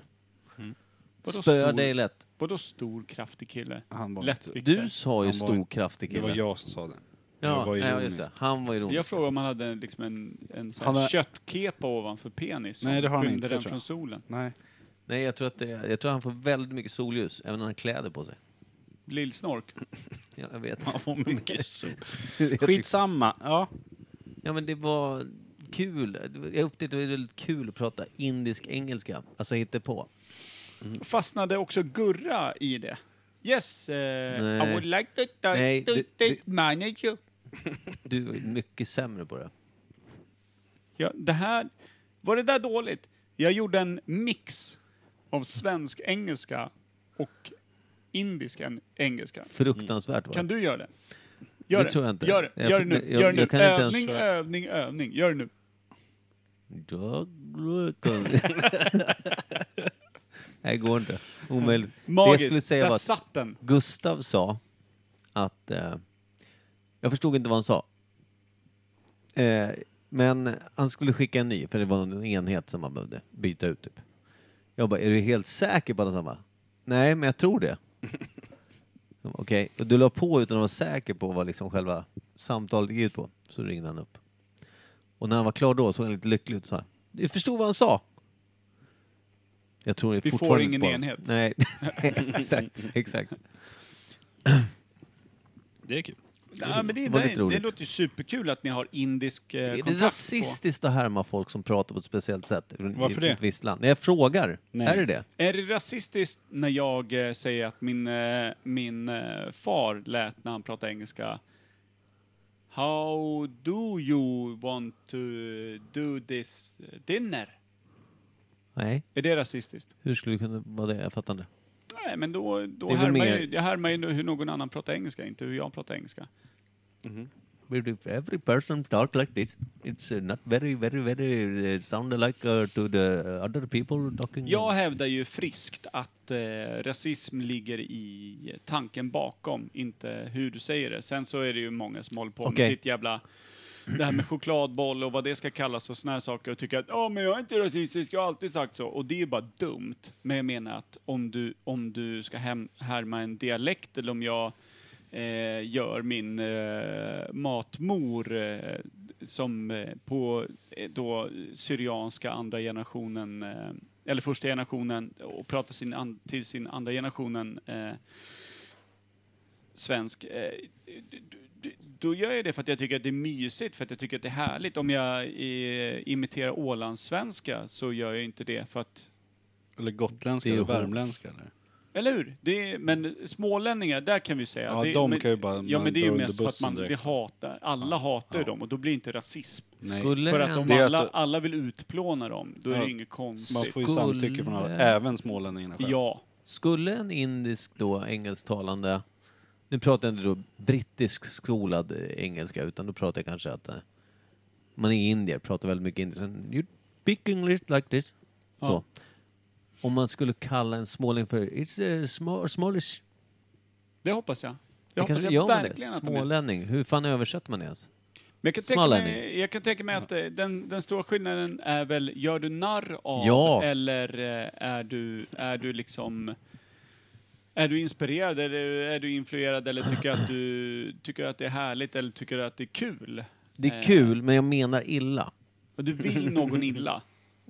S3: Mm.
S2: Vadå
S1: Spöar
S2: stor?
S1: dig lätt.
S2: Vadå stor kraftig kille?
S3: Han var inte-
S2: Lättviktare.
S1: Du sa ju
S3: Han var
S1: stor,
S3: inte-
S1: kraftig
S3: Det
S1: kille.
S3: var jag som sa det.
S1: Ja,
S3: jag var
S1: nej, ja, just
S3: ironisk.
S1: det. Han var ironisk.
S2: Jag frågade om han hade en- liksom en, en sån här
S3: Han har-
S2: köttkepa ovanför penis som
S3: Nej, det har han
S2: skymde
S3: inte,
S2: den
S3: tror jag.
S2: från solen.
S3: Nej.
S1: Nej, jag tror, att det, jag tror att han får väldigt mycket solljus, även när han har kläder på sig.
S2: Lillsnork.
S1: Ja, jag vet.
S3: Vad mycket så. Skitsamma. Ja.
S1: Ja, men det var kul. Jag upptäckte att det var väldigt kul att prata indisk-engelska. Alltså hitta på. Mm.
S2: Fastnade också Gurra i det? Yes, eh, I
S1: Nej.
S2: would like to talk
S1: Nej,
S2: to
S1: det-
S2: this manager.
S1: Du var ju mycket sämre på det.
S2: Ja, det här... Var det där dåligt? Jag gjorde en mix av svensk-engelska och indisk-engelska.
S1: Fruktansvärt var det.
S2: Kan du göra det? Gör
S1: Det
S2: det.
S1: tror jag inte.
S2: Gör det.
S1: Jag-
S2: Gör det nu.
S1: jag-
S2: Gör det nu.
S1: jag kan inte ens-
S2: Övning, övning, övning. Gör det nu.
S1: Nej, det går inte. Omöjligt. Det jag skulle
S2: Magiskt.
S1: säga
S2: Där
S1: var att
S2: satt den.
S1: Gustav sa att... Eh, jag förstod inte vad han sa. Eh, men han skulle skicka en ny, för det var en enhet som man behövde byta ut. Typ. Jag bara, är du helt säker på det? Han bara, nej, men jag tror det. Jag bara, Okej, och du la på utan att vara säker på vad liksom själva samtalet gick ut på. Så ringde han upp. Och när han var klar då såg han lite lycklig ut så här. Du förstod vad han sa. Jag tror det
S2: Vi får
S1: fortfarande
S2: ingen
S1: inte på honom.
S2: enhet.
S1: Nej, exakt. exakt.
S3: Det är kul.
S2: Ja, men det,
S1: Var
S2: det,
S1: lite
S2: det
S1: roligt.
S2: låter ju superkul att ni har indisk eh,
S1: Är
S2: kontakt.
S1: det rasistiskt att härma folk som pratar på ett speciellt sätt? ur-
S3: Varför
S1: i
S3: det?
S1: Ett visst land? Nej, jag frågar.
S3: Nej.
S1: Är det det?
S2: På. Är det rasistiskt när jag eh, säger att min, eh, min eh, far lät när han pratade engelska How do you want to do this dinner?
S1: Nej.
S2: Är det rasistiskt?
S1: Hur skulle det kunna vara det? Jag fattar inte.
S2: Nej, men då,
S1: Det
S2: då
S1: är väl
S2: härmar
S1: mer-
S2: ju, jag härmar ju hur någon annan pratar engelska, inte hur jag pratar engelska.
S1: If every person talk like this, it's uh, not very, very, very uh, sound alike uh, to the uh, other people talking.
S2: Jag hävdar ju friskt att eh, rasism ligger i tanken bakom, inte hur du säger det. Sen så är det ju många som håller på
S1: Okej.
S2: med sitt jävla... Det här med chokladboll och vad det ska kallas och såna här saker och tycker att ja men jag är inte rasistisk, jag har alltid sagt så. Och det är ju bara dumt. Men jag menar att om du, om du ska hem, härma en dialekt eller om jag eh, gör min eh, matmor eh, som eh, på eh, då syrianska andra generationen, eh, eller första generationen och pratar sin an, till sin andra generationen eh, svensk. Eh, d- d- då gör jag det för att jag tycker att det är mysigt, för att jag tycker att det är härligt. Om jag eh, imiterar ålandssvenska så gör jag inte det för att
S3: Eller gotländska
S1: Det är
S3: eller
S1: hårt.
S3: värmländska eller?
S2: eller hur? Det är, men smålänningar, där kan vi säga.
S3: Ja,
S2: det,
S3: de
S2: men,
S3: kan ju bara-
S2: Ja,
S3: man
S2: men det är
S3: drar
S2: ju
S3: under
S2: mest för att
S3: bussen
S2: man, det
S3: direkt.
S2: hatar, alla hatar ju dem och då blir det inte rasism.
S3: Nej.
S1: Skulle
S2: För att
S1: ändå-
S2: om
S3: Det är
S2: alla,
S3: alltså-
S2: alla vill utplåna dem, då är
S3: Ja.
S2: det inget
S3: Man
S2: konstigt.
S3: får ju
S1: Skulle-
S3: samtycke från alla, även smålänningarna själva.
S2: Ja.
S1: Skulle en indisk då engelsktalande, nu pratar jag inte då brittisk skolad eh, engelska utan då pratar jag kanske att eh, man är indier, pratar väldigt mycket indiska. You speak English like this. Så. Om man skulle kalla en småling för it's a small, smallish.
S2: Det hoppas jag.
S1: Det
S2: Jag hoppas
S1: kanske
S2: jag
S1: gör man det.
S2: verkligen att de är
S1: Smålänning. Hur fan översätter man det ens?
S2: Men jag kan tänka
S1: Smålänning.
S2: mig, jag kan tänka mig att eh, den, den stora skillnaden är väl, gör du narr av
S1: Ja.
S2: eller eh, är du, är du liksom... Är du inspirerad eller är du influerad eller tycker att du tycker att det är härligt eller tycker att det är kul?
S1: Det
S2: Eh,
S1: är kul, men jag menar illa.
S2: Och du vill någon illa.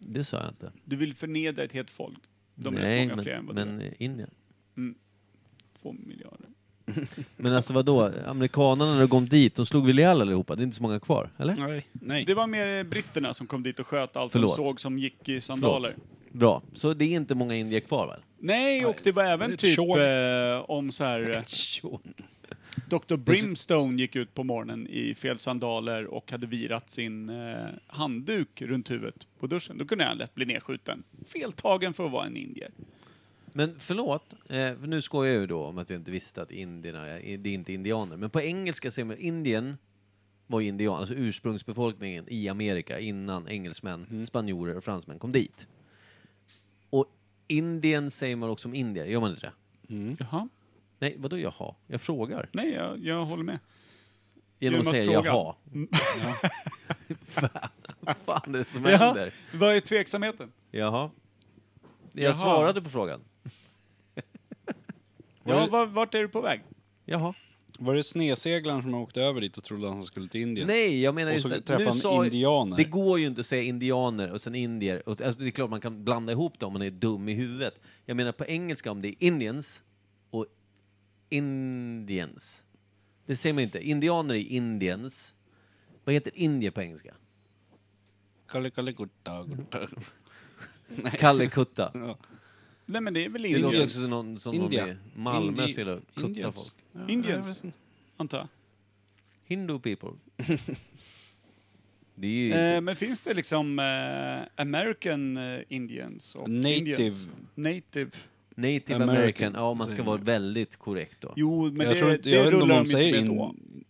S1: Det sa jag inte.
S2: Du vill förnedra ett helt folk. De är
S1: Nej,
S2: rätt många
S1: men,
S2: fler än vad du är.
S1: men Indien.
S2: Två miljarder.
S1: Men alltså vadå? Amerikanerna när de kom dit, de slog väl ihjäl allihopa? Det är inte så många kvar, eller?
S3: Nej. Nej.
S2: Det var mer britterna som kom dit och sköt allt
S1: Förlåt.
S2: de såg som gick i sandaler.
S1: Bra. Så det är inte många indier kvar, väl?
S2: Nej, och det var även
S3: Ett
S2: typ
S3: tjog.
S2: eh, om så här... eh, Dr. Brimstone gick ut på morgonen i fel sandaler och hade virat sin eh, handduk runt huvudet på duschen. Då kunde han lätt bli nedskjuten. Feltagen för att vara en indier.
S1: Men förlåt, eh, för nu skojar jag ju då om att jag inte visste att indierna, är- det är inte indianer. Men på engelska säger man Indien var ju indian, alltså ursprungsbefolkningen i Amerika innan engelsmän,
S2: Mm.
S1: spanjorer och fransmän kom dit. Och Indien säger man också om indier, gör man inte det?
S3: Mm.
S2: Jaha.
S1: Nej, vadå jaha? Jag frågar.
S2: Nej, jag, jag håller med.
S1: Genom att
S2: Genom att
S1: säga
S2: fråga. Mm.
S1: jaha. Fan, vad fan är det som
S2: Ja,
S1: händer?
S2: vad är tveksamheten?
S1: Jaha. Jag
S2: Jaha.
S1: svarade på frågan.
S2: Ja, var, vart är du på väg?
S1: Jaha.
S3: Var det sneseglaren som åkte över dit och trodde att han skulle till Indien?
S1: Nej, jag menar
S3: Och
S1: just
S3: så
S1: att
S3: träffade
S1: nu
S3: han
S1: sa,
S3: indianer.
S1: Det går ju inte att säga indianer och sen indier. Och, alltså, det är klart man kan blanda ihop dem om man är dum i huvudet. Jag menar på engelska om det är indians och indians. Det säger man inte. Indianer är indians. Vad heter indier på engelska?
S3: Kalle, kalle, gutta, gutta.
S1: Kallekutta.
S2: Nej, men det är väl
S1: Det låter
S2: indier?
S1: också som någon som
S3: India.
S1: någon i Malmö
S3: Indi-
S1: skulle kutta
S3: Indians.
S1: folk.
S3: Ja, jag vet
S2: Indians,
S3: inte.
S2: antar jag.
S1: Hindu people. det är ju...
S2: Eh,
S3: Ehm,
S2: men finns det liksom eh, American eh, Indians och
S3: Native.
S2: Indians? Native.
S1: Native
S3: American,
S1: American, ja om man ska
S3: säger
S1: vara
S3: man.
S1: väldigt korrekt då.
S2: Jo, men
S3: jag
S2: det,
S3: tror inte,
S2: det
S3: jag vet inte om
S2: rullar
S3: de
S2: de inte
S3: säger
S2: med då.
S3: in,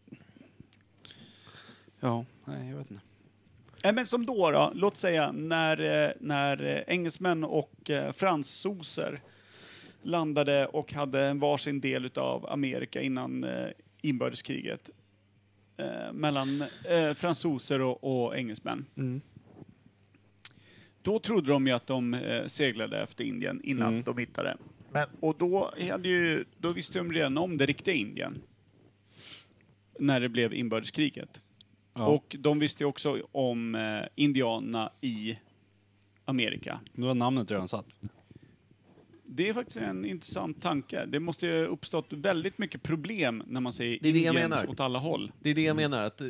S3: Ja, nej jag vet inte.
S2: Nej, men som då, då låt säga när, eh, när eh, engelsmän och eh, fransoser landade och hade en varsin del av Amerika innan eh, inbördeskriget eh, mellan eh, fransoser och, och engelsmän. Då trodde de ju att de eh, seglade efter Indien innan de hittade. Men, och då, hade ju, då visste de redan om det riktiga Indien. När det blev inbördeskriget.
S3: Ja.
S2: Och de visste ju också om eh, indianerna i Amerika.
S3: Nu har namnet redan satt.
S2: Det är faktiskt en intressant tanke. Det måste ju ha uppstått väldigt mycket problem när man säger
S1: Det är det jag
S2: Indiens
S1: menar.
S2: åt alla håll.
S1: Det är det
S3: Mm.
S1: jag menar. Att, eh,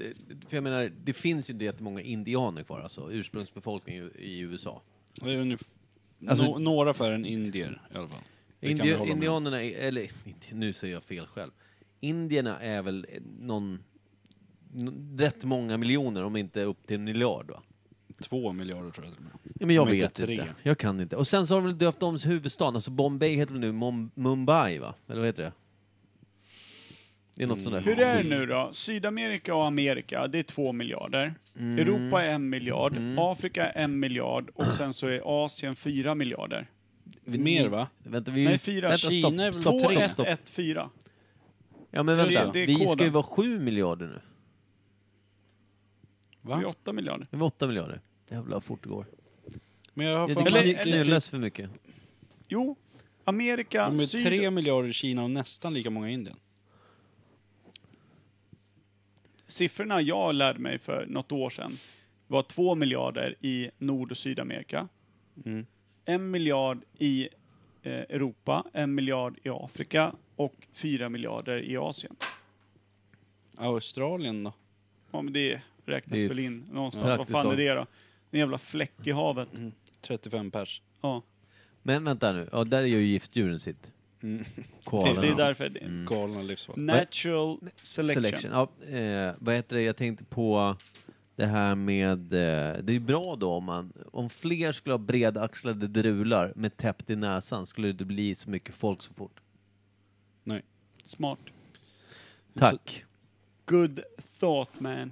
S1: för jag menar, det finns ju inte jättemånga indianer kvar, alltså ursprungsbefolkning i- i USA.
S3: Det är ungef-
S1: Alltså-
S3: nå- några färre än indier i alla fall. Det kan vi
S1: Indi-
S3: hålla med om.
S1: indianerna, är, eller inte- nu säger jag fel själv. Indierna är väl eh, någon, n- rätt många miljoner, om inte upp till en miljard va?
S3: Två miljarder tror jag till och med.
S1: Ja, men jag
S3: Om inte
S1: vet inte,
S3: tre.
S1: Jag kan inte. Och sen så har de väl döpt om huvudstaden, alltså Bombay heter väl nu Mom- Mumbai va? Eller vad heter det? Det är något sånt där.
S2: Hur är det nu då? Sydamerika och Amerika, det är två miljarder.
S1: Mm.
S2: Europa är en miljard, Afrika är en miljard och sen så är Asien fyra miljarder.
S1: Vi-
S3: Mer va?
S1: Vänta, vi,
S2: Nej, fyra.
S1: Vänta, stopp,
S3: Kina är väl-
S1: stopp,
S2: Två,
S1: stopp,
S2: ett,
S1: stopp.
S2: ett, fyra.
S1: Ja men
S2: Det är-
S1: vänta,
S2: det är
S1: vi ska ju
S2: koden.
S1: vara sju miljarder nu.
S2: Det är
S3: Va?
S2: åtta miljarder.
S1: Det var åtta miljarder. Jävlar vad fort det går.
S3: Men jag har
S1: Jag
S3: för
S1: tycker
S2: Eller-
S1: vi
S2: eller-
S1: knullas för mycket.
S2: Jo, Amerika,
S3: De är
S2: Syd...
S3: tre miljarder i Kina och nästan lika många i Indien.
S2: Siffrorna jag lärde mig för något år sedan var två miljarder i Nord och Sydamerika.
S3: Mm.
S2: En miljard i eh, Europa, en miljard i Afrika och fyra miljarder i Asien.
S3: Australien då?
S2: Ja, men det räknas
S1: Det är
S2: väl in någonstans.
S1: ja.
S2: Vad fan är det då? En jävla fläck i havet.
S3: 35 pers.
S2: Ja,
S1: Men vänta nu, ja, där är ju giftdjuren sitt.
S2: det,
S1: Koalorna.
S2: det är därför. Det,
S3: Mm.
S1: Mm.
S3: Galna livsval.
S2: Natural selection.
S1: Ja, eh, vad heter det, jag tänkte på det här med... Eh, det är ju bra då om man... Om fler skulle ha bredaxlade drular med täppt i näsan skulle det inte bli så mycket folk så fort.
S3: Nej.
S2: Smart.
S1: Tack.
S2: Good thought man.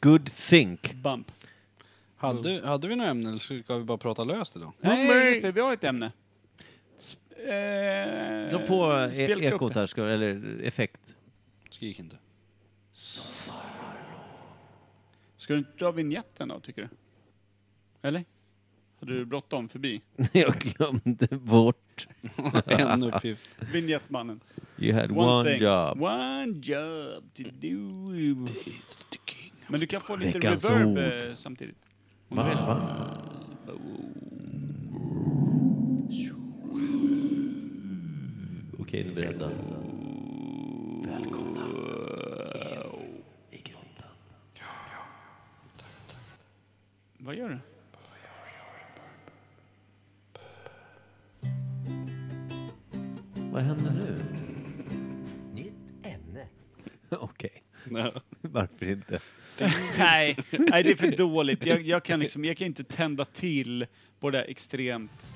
S1: Good think.
S2: Bump.
S3: Hade, hade vi några ämnen eller ska vi bara prata löst idag?
S2: Nej, just det. Vi har ett ämne. Sp- eh,
S1: Dra på e-
S2: spelkuppen.
S1: ekot här, ska, eller effekt.
S3: Skrik inte.
S2: Ska du inte dra vignetten då, tycker du? Eller? Hade du bråttom förbi?
S1: jag glömde bort.
S3: en uppgift.
S2: Vignettmannen.
S1: You had one, job.
S2: One job to do. Men du kan få lite
S1: Veckans
S2: reverb
S1: ord.
S2: eh, samtidigt. Om du vill.
S1: Okej, nu är vi beredda. Välkomna in i grottan.
S2: Vad gör du?
S1: Vad händer nu? Nytt ämne. Okej, varför inte?
S2: nej, nej, det är för dåligt. Jag, jag, kan liksom, jag kan inte tända till på det där extremt...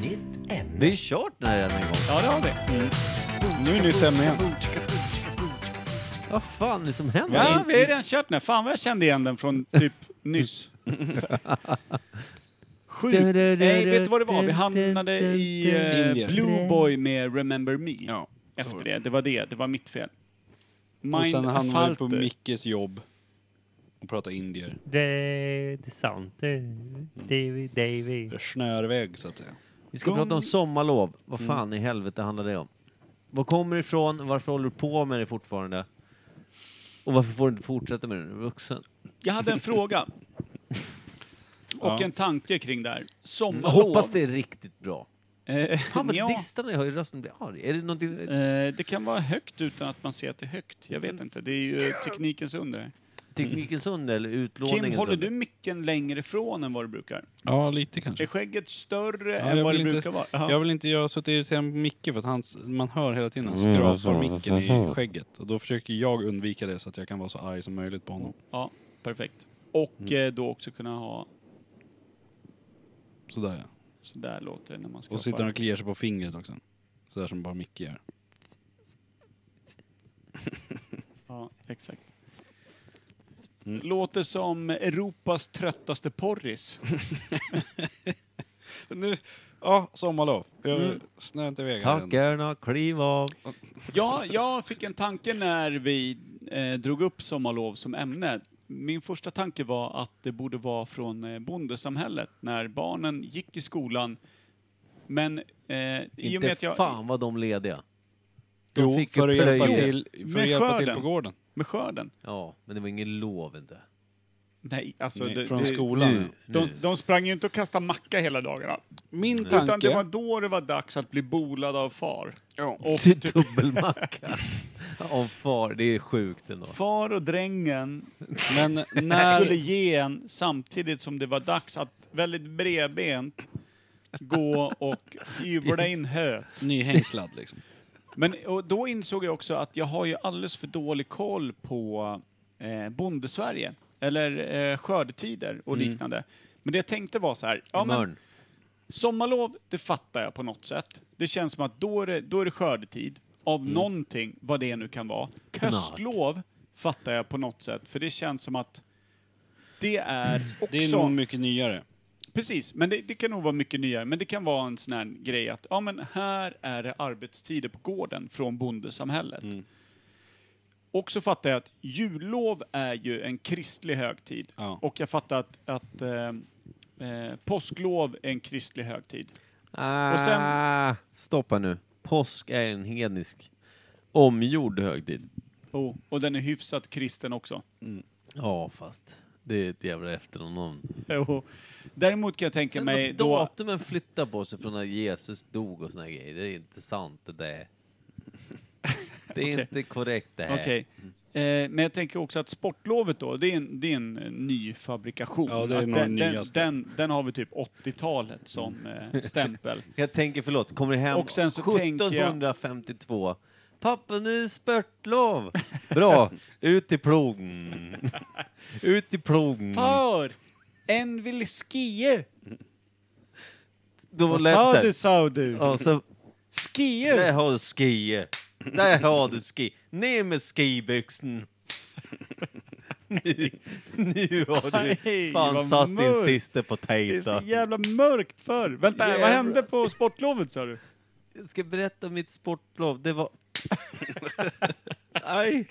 S1: Nytt ämne. Det är kört den här redan en gång.
S2: Ja, det har vi.
S3: Nu är nytt ämne igen.
S1: Vad fan är det som händer?
S2: Ja, vi har redan kört den. här. Fan vad jag kände igen den från typ nyss. Sjukt. Nej, vet du vad det var? Vi hamnade i eh,
S3: Indien.
S2: Blue Boy med Remember Me.
S3: Ja.
S2: Efter det. Det var det. Det var mitt fel.
S3: Och sen
S2: Mind
S3: hamnade vi på
S2: Falter.
S3: Mickes jobb och pratade indier.
S6: Det, det är sant. Det, David, David.
S3: Snörväg så att säga.
S1: Vi ska prata om sommarlov. Vad fan i helvete handlar det om? Var kommer det ifrån? Varför håller du på med det fortfarande? Och varför får du inte fortsätta med det när du är vuxen?
S2: Jag hade en fråga. Och
S3: Ja. Mm.
S2: en tanke kring det här.
S1: Jag
S2: Sommarlov.
S1: hoppas det är riktigt bra.
S2: Eh,
S1: Fan vad
S2: ja,
S1: distande jag har i rösten. blir arg. Är det någonting...
S2: eh, det kan vara högt utan att man ser att det är högt. Jag vet inte. Det är
S3: Mm.
S2: ju teknikens under.
S1: Teknikens under eller utlåningens
S2: Kim, håller
S1: under?
S2: du micken längre ifrån än vad du brukar?
S3: Ja, lite
S2: Är
S3: kanske.
S2: skägget större
S3: Ja,
S2: än
S3: jag
S2: vad det
S3: vill inte-
S2: brukar vara? Jaha.
S3: Jag vill inte, jag har suttit irriterad på Micke för att han, man hör hela tiden han skrapar micken i skägget. Och då försöker jag undvika det så att jag kan vara så arg som möjligt på honom.
S2: Ja, perfekt. Och
S3: Mm.
S2: eh, då också kunna ha...
S3: Sådär ja.
S2: Så där låter det när man ska...
S3: Och sitter han och kliar sig på fingret också. Sådär som bara Micke gör.
S2: Ja, exakt.
S3: Mm.
S2: Låter som Europas tröttaste porris.
S3: Nu, ja, sommarlov. Vi har snöat iväg här än.
S1: Tankarna, kliv av.
S2: Ja, jag fick en tanke när vi eh, drog upp sommarlov som ämne. Min första tanke var att det borde vara från eh, bondesamhället, när barnen gick i skolan. Men eh, i och med
S1: Inte
S2: att jag...
S1: fan vad de lediga. De
S3: Jo,
S1: fick ju
S3: för att hjälpa
S1: plöja.
S3: till, för att
S2: Med
S3: hjälpa till
S2: skörden.
S3: på gården.
S2: Med skörden.
S1: Ja, men det var ingen lov inte.
S2: Nej, alltså...
S3: Nej,
S2: det,
S3: från
S2: det,
S3: skolan.
S1: nu.
S2: De, de sprang ju inte och kastade macka hela dagarna.
S3: Min
S2: Utan
S3: tanke...
S2: det var då det var dags att bli bolad av far.
S3: Ja.
S2: Och
S1: Till dubbelmacka. Om far, det är sjukt ändå.
S2: far och drängen
S3: Men
S2: skulle
S3: när...
S2: ge en samtidigt som det var dags att väldigt bredbent gå och hyvla in hö.
S3: Nyhängslad liksom.
S2: Men och då insåg jag också att jag har ju alldeles för dålig koll på eh, bondesverige. Eller eh, skördetider och
S1: Mm.
S2: liknande. Men det jag tänkte var så här. Ja, men,
S1: Mörn.
S2: Sommarlov, det fattar jag på något sätt. Det känns som att då är det, då är det skördetid av
S3: Mm.
S2: någonting, vad det nu kan vara. Höstlov fattar jag på något sätt, för det känns som att det är också...
S3: Det är nog mycket nyare.
S2: Precis, men det, det kan nog vara mycket nyare. Men det kan vara en sån här grej att ja, men här är det arbetstider på gården från bondesamhället.
S3: Mm.
S2: Och så fattar jag att jullov är ju en kristlig högtid.
S3: Ja.
S2: Och jag fattar att, att eh, eh, påsklov är en kristlig högtid.
S1: Ah, Stoppa nu. Påsk är en hednisk omgjord högtid.
S2: Oh, och den är hyfsat kristen också.
S1: Ja, fast det är ett jävla efternamn.
S2: Jo. Däremot kan jag tänka
S1: Sen
S2: mig
S1: när
S2: då...
S1: datumen flyttar på sig från när Jesus dog och såna grejer. Det är inte sant det där. Det är
S2: Okej.
S1: inte korrekt det här.
S2: Okej. Eh, men jag tänker också att sportlovet då, det är en, det är en eh, ny fabrikation.
S3: Ja, det är
S2: Att
S3: nog
S2: den,
S3: den
S2: den,
S3: nyaste.
S2: den, den har vi typ 80-talet som eh, stämpel.
S3: Mm.
S1: Jag tänker, förlåt, kommer hem
S2: Och sen så tänker jag-
S1: 1752. Pappa, nu är det spörtlov! Bra, ut i plogen. Ut i plogen.
S2: Far! En vill skie!
S1: Då
S2: Vad
S1: lät
S2: sa
S1: det
S2: du,
S1: så
S2: sa du?
S1: här. Ja, så, där
S2: Skie!
S1: har du ski. Där har du ski. Ner med skibyxen. Nu, nu har
S2: Nej,
S1: du fan
S2: vad
S1: satt din
S2: mörkt.
S1: sista på
S2: Det är så
S1: tejta.
S2: jävla mörkt för. Vänta,
S1: Jävlar.
S2: vad hände på sportlovet sa du?
S1: Jag ska berätta om mitt sportlov. Det var... Aj.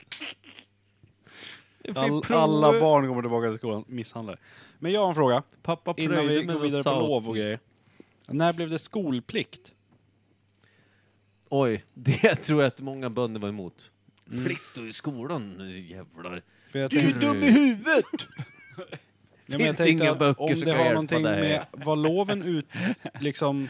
S1: Jag fick
S3: All,
S1: prova-
S3: alla barn kommer tillbaka till skolan misshandlade. Men jag har en fråga.
S1: Pappa
S3: Innan vi
S1: plöjde
S3: går
S1: med
S3: vidare på
S1: salt.
S3: lov och grejer. När blev det skolplikt?
S1: Oj, det tror jag att många bönder var emot. Plikt och i skolan, nu jävlar.
S3: För jag
S2: Du är
S3: tänkte,
S1: tänkte-
S2: dum i huvudet!
S3: ja, men jag
S1: finns
S3: tänkte
S1: inga
S3: att
S1: böcker
S3: om
S1: som
S3: det
S1: kan
S3: har
S1: hjälpa
S3: någonting
S1: dig.
S3: med, var loven ut, liksom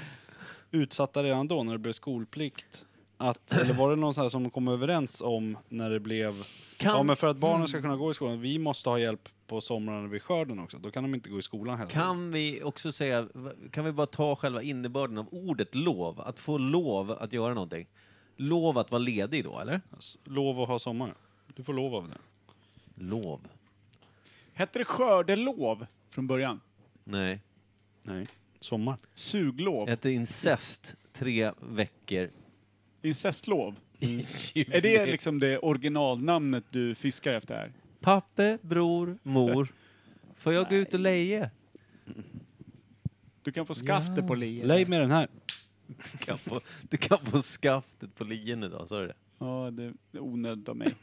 S3: utsatta redan då när det blev skolplikt? Att, eller var det någon sån här som kom överens om när det blev,
S1: Kan- Mm.
S3: ja men för att barnen ska kunna gå i skolan, vi måste ha hjälp på somrarna vid skörden också, då kan de inte gå i skolan heller.
S1: Kan vi också säga, kan vi bara ta själva innebörden av ordet lov? Att få lov att göra någonting. Lov att vara ledig då, eller?
S3: Lov att ha sommar. Du får lov av det.
S1: Lov?
S2: Hette det skördelov från början?
S1: Nej.
S3: Nej. Sommar.
S2: Suglov?
S1: Ett incest tre veckor
S2: Incestlov?
S1: i juni.
S2: Är det liksom det originalnamnet du fiskar efter här?
S1: Pappe, bror, mor. Får jag gå ut och leje?
S2: Du kan få skaftet på liet.
S3: Lägg med den här.
S1: Du kan få, du kan få skaftet på lien idag, sa du det?
S2: Ja, det är onödigt av mig.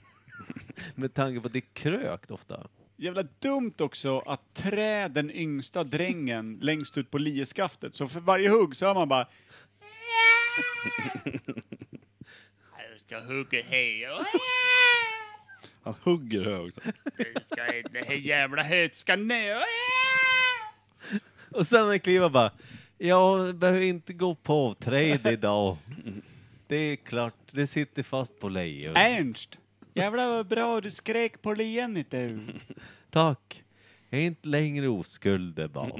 S1: Med tanke på att det är krökt ofta.
S2: Jävla dumt också att trä den yngsta drängen längst ut på lieskaftet. Så för varje hugg så hör man bara...
S7: Jag ska hugga här.
S3: Han hugger högt.
S7: Jag ska, det här jävla höet ska ner.
S1: Och sen när Kliva bara, jag behöver inte gå på avträde idag. Det är klart, det sitter fast på lejon.
S2: Ernst! Jävlar vad bra du skrek på lien inte du.
S1: Tack. Jag är inte längre oskuld det bara.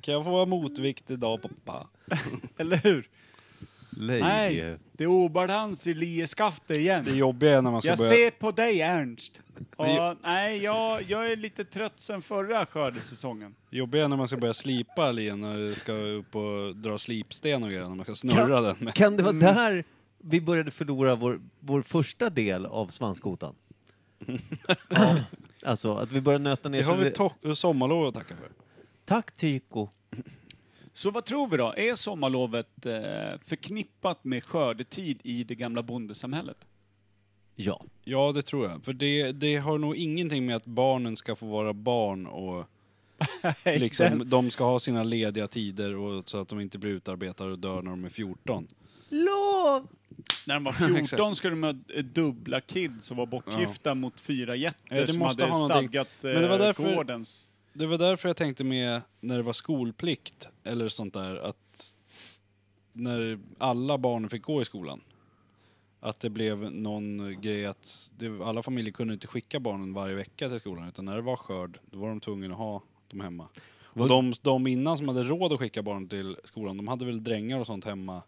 S3: Kan jag få vara motvikt idag pappa?
S2: Eller hur? Nej,
S1: Leje.
S2: det är obalans i lieskaftet igen.
S3: Det jobbiga är när man ska
S2: Jag
S3: börja...
S2: ser på dig Ernst. Ja, nej, jag, jag är lite trött sen förra skördesäsongen.
S3: Det jobbiga är när man ska börja slipa alien, när du ska upp och dra slipsten och grejer, när man ska snurra den. Med.
S2: Mm.
S1: Kan det vara där vi började förlora vår, vår första del av svanskotan. ja. Alltså att vi började nöta ner
S3: Det har
S1: så
S3: vi to- sommarlov att tacka för.
S1: Tack Tyko.
S2: Så vad tror vi då? Är sommarlovet eh, förknippat med skördetid i det gamla bondesamhället?
S1: Ja.
S3: Ja, det tror jag. För det, det har nog ingenting med att barnen ska få vara barn och liksom, de ska ha sina lediga tider och, så att de inte blir utarbetade och dör när de är 14.
S1: Lov!
S2: När de var 14 skulle de ha eh, dubbla kids och var bortgifta mot fyra jätter
S3: Ja, det
S2: som
S3: måste
S2: hade
S3: ha någonting.
S2: stadgat eh,
S3: Men det var därför-
S2: gårdens...
S3: Det var därför jag tänkte med när det var skolplikt eller sånt där att när alla barnen fick gå i skolan. Att det blev någon grej att det, alla familjer kunde inte skicka barnen varje vecka till skolan utan när det var skörd då var de tvungna att ha dem hemma. Och de, de innan som hade råd att skicka barnen till skolan de hade väl drängar och sånt hemma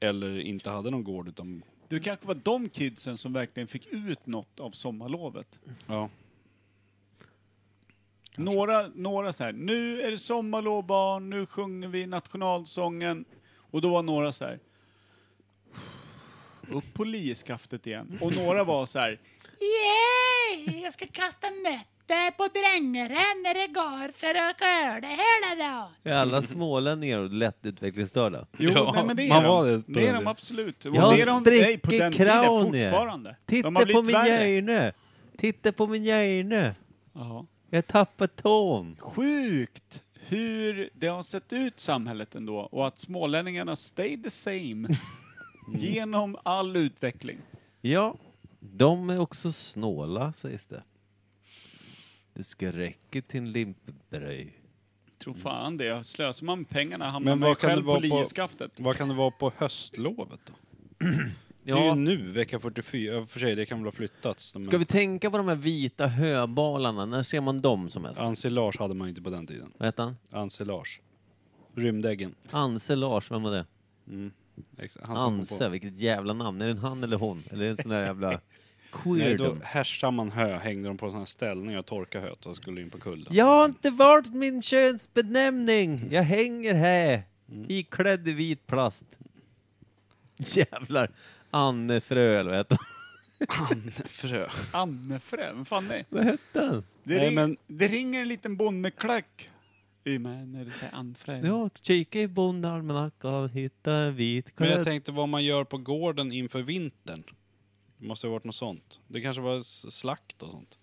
S3: eller inte hade någon gård utan
S2: Det kanske var de kidsen som verkligen fick ut något av sommarlovet.
S3: ja.
S2: Några, några så här, nu är det sommarlov barn, nu sjunger vi nationalsången. Och då var några så här, upp på lieskaftet igen. Och några var så här,
S8: Yay! Jag ska kasta nötter på drängaren när det går för att skörda hela dagen.
S1: Är alla smålänningar och lätt utvecklingsstörda?
S2: jo
S3: Ja,
S2: nej, men det är
S3: man
S2: de.
S3: var det på
S2: det är de
S3: den tiden.
S2: absolut. Och
S1: Jag
S2: det är de, nej, på den
S1: spräcker
S2: tiden
S1: kranier.
S2: fortfarande.
S1: Titta
S2: de har
S1: på
S2: blivit
S1: min
S2: värre.
S1: hjärne! Titta på min hjärne!
S2: Ja.
S1: Jag tappar tån!
S2: Sjukt hur det har sett ut samhället ändå och att smålänningarna stayed the same genom all utveckling.
S1: Ja, de är också snåla sägs det. Det ska räcka till en limpbröj.
S2: Tror fan det. Slösar man pengarna hamnar
S3: Men
S2: man ju
S3: vad kan
S2: själv
S3: det
S2: på
S3: vara på-
S2: lieskaftet.
S3: Vad kan det vara på höstlovet då? Det är ju
S1: Ja,
S3: nu, vecka 44. Ja, För sig, det kan väl ha flyttats. men-
S1: ska vi tänka på de här vita höbalarna? När ser man dem som mest?
S3: Ensilage hade man inte på den tiden.
S1: Vad heter han?
S3: Ensilage. Rymdäggen.
S1: Anse Lars, vem var det?
S3: Ex- Han som kom
S1: Anse,
S3: på-
S1: vilket jävla namn. Är det en han eller hon? Eller är det en sån där jävla...
S3: Nej, då
S1: Queerdom?
S3: härsade man hö, hängde de på sådana här ställningar och torkade höet och skulle in på kullen.
S1: Jag har inte valt min könsbenämning. Jag hänger här.
S3: Mm.
S1: Iklädd i vit plast. Jävlar. Anne Frö, eller vad heter hon?
S3: Frö.
S2: Annefrö, vem fan är
S1: Vad hette han?
S2: det?
S3: Nej,
S2: ring,
S3: men-
S2: Det ringer en liten bonneklack i mig när det säger Annefrö.
S1: Ja, kika i bondealmanackan och hitta en vit
S3: Men jag
S1: klädd.
S3: tänkte vad man gör på gården inför vintern. Det måste ha varit något sånt. Det kanske var s- slakt och sånt.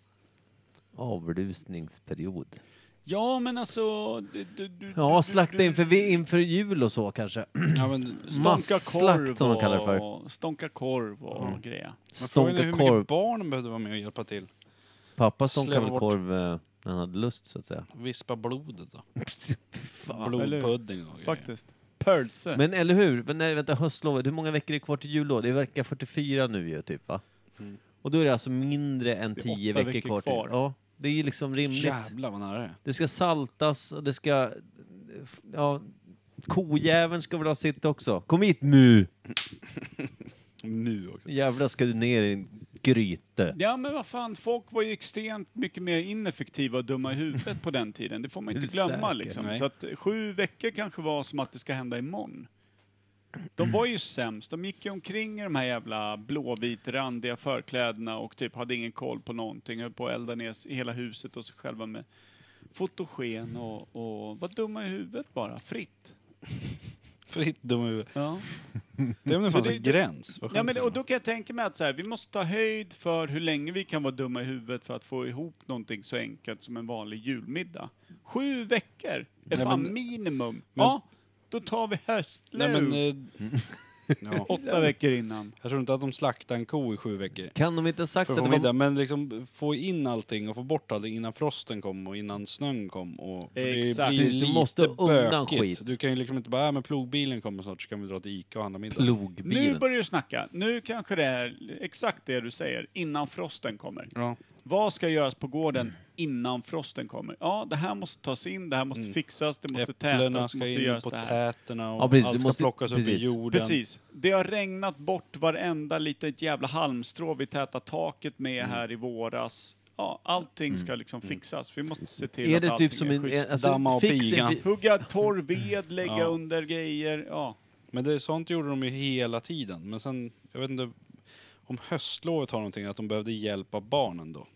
S1: Avlusningsperiod.
S2: Ja, men alltså... Du, du, du,
S1: Ja,
S2: du-
S1: slakta
S2: du-
S1: inför, vi- inför jul och så kanske.
S3: Ja, men,
S2: Stånka
S1: Masslakt,
S2: korv
S1: som de kallar det för. Mm.
S2: och, Stånka korv och grejer.
S3: men frågan är
S1: Stånka
S3: hur
S1: korv.
S3: mycket barnen behövde vara med och hjälpa till.
S1: Pappa stånkade
S3: släva
S1: väl
S3: bort.
S1: korv eh, när han hade lust så att säga.
S3: Vispa blodet då.
S2: Ja, eller hur?
S3: Blodpudding och grejer.
S2: Faktiskt. Pölse.
S1: Men eller hur? Men nej, vänta, höstlovet, hur många veckor är det kvar till jul då? Det är vecka 44 nu ju, typ va?
S3: Mm.
S1: Och då är det alltså mindre än
S2: Det är
S1: 10
S2: åtta
S1: veckor,
S2: veckor
S1: kvar,
S2: kvar.
S1: till. Ja, det är ju liksom rimligt.
S3: Jävlar vad nära det är.
S1: Det ska saltas och det ska... Ja, kojäveln ska väl ha sitt också. Kom hit nu!
S3: Nu också.
S1: Jävlar ska du ner i en gryte.
S2: Ja men vad fan, folk var ju extremt mycket mer ineffektiva och dumma i huvudet på den tiden. Det får man
S1: Är
S2: inte
S1: du
S2: glömma
S1: säker?
S2: liksom.
S3: Nej.
S2: Så att sju veckor kanske var som att det ska hända imorgon. De var ju sämst. De gick ju omkring i de här jävla blåvitrandiga förklädena och typ hade ingen koll på någonting. Höll på att elda ner hela huset och sig själva med fotogen och, och var dumma i huvudet bara. Fritt.
S3: Fritt dum huvud.
S2: Ja.
S3: Det är om
S2: För
S3: det fanns
S2: det-
S3: en gräns. Vad
S2: Ja,
S3: skönt
S2: men,
S3: det
S2: och
S3: var.
S2: då kan jag tänka mig att så här, vi måste ta höjd för hur länge vi kan vara dumma i huvudet för att få ihop någonting så enkelt som en vanlig julmiddag. Sju veckor är fan minimum. ja, då tar vi höstlöv
S3: Nej, men, eh, ja.
S2: åtta veckor innan.
S3: Jag tror inte att de slaktar en ko i sju veckor.
S1: Kan de inte ha sagt
S3: För
S1: att
S3: att
S1: det
S3: få
S1: var...
S3: middag, men liksom få in allting och få bort allting innan frosten kom och innan snön kom. Och för
S2: Exakt.
S3: Det blir
S1: Precis,
S3: lite
S1: du måste undan
S3: bökigt.
S1: skit.
S3: Du kan ju liksom inte bara, äh, men plogbilen kommer snart så kan vi dra till Ica och handla middag.
S1: Plogbilen?
S2: Nu börjar du snacka. Nu kanske det är exakt det du säger, innan frosten kommer.
S3: Ja.
S2: Vad ska göras på gården innan frosten kommer? Ja, det här måste tas in, det här måste fixas, det måste
S3: Mm. Äpplena
S2: tätas, det
S3: ska
S2: måste
S3: in
S2: göras
S3: på
S2: det här.
S3: täterna och
S1: Ja, precis, du
S3: allt ska
S1: måste-
S3: plockas upp
S1: precis.
S3: i jorden.
S2: Precis. Det har regnat bort varenda litet jävla halmstrå vi täta taket med
S3: Mm.
S2: här i våras. Ja, allting ska liksom fixas. Vi måste se till
S1: Är
S2: att
S1: det
S2: allting
S1: typ som
S2: är
S1: en...
S2: schysst.
S1: Alltså,
S3: Damma och
S1: fix
S3: piga.
S1: en-
S2: Hugga torr ved, lägga
S3: Ja.
S2: under grejer. Ja.
S3: Men det, sånt gjorde de ju hela tiden. Men sen, jag vet inte om höstlovet har någonting, att de behövde hjälp av barnen då.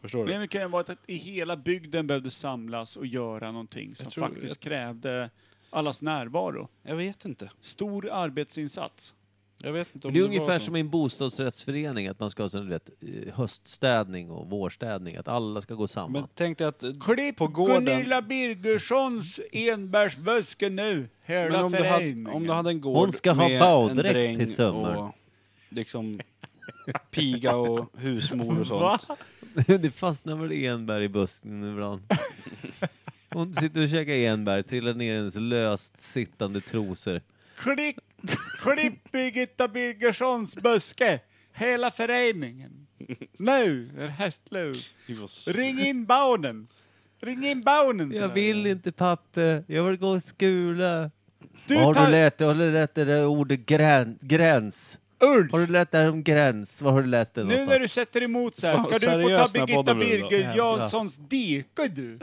S3: Förstår du?
S2: Problemet kan ju vara att i hela bygden behövde samlas och göra någonting som
S3: Jag tror-
S2: faktiskt krävde allas närvaro.
S3: Jag vet inte.
S2: Stor arbetsinsats.
S3: Jag vet inte om
S1: det är
S3: var
S1: ungefär
S3: något.
S1: som i en bostadsrättsförening, att man ska ha sån, du vet, eh, höststädning och vårstädning, att alla ska gå samman.
S3: Men tänk dig att... eh,
S2: Klipp
S3: På gården.
S2: Gunilla Birgerssons enbärsbuske nu.
S3: Men
S2: Hela
S3: om, du hade, om du
S2: föreningen.
S3: hade en gård
S1: Hon ska ha
S3: med
S1: baddräkt
S3: en dräng
S1: till sommar.
S3: och liksom piga och husmor och sånt.
S1: det fastnar väl enbär i busken ibland. Hon sitter och käkar enbär, trillar ner i hennes löst sittande trosor.
S2: Klipp, klipp Birgitta Birgerssons buske. Hela föreningen. Nu är det höstlov. Ring in barnen. Ring in barnen.
S1: Jag vill inte pappa, jag vill gå i skola.
S2: Du
S1: har,
S2: tar-
S1: du lärt, har du lärt dig det ordet grän, gräns?
S2: Ulf.
S1: Har du lärt dig om gräns? Var har du läst det
S2: Nu
S1: någonstans?
S2: när du sätter emot så här,
S3: Fan,
S2: ska du få ta
S3: seriös den här
S2: Birgitta
S3: podden blir idag.
S2: Birger Janssons dike du?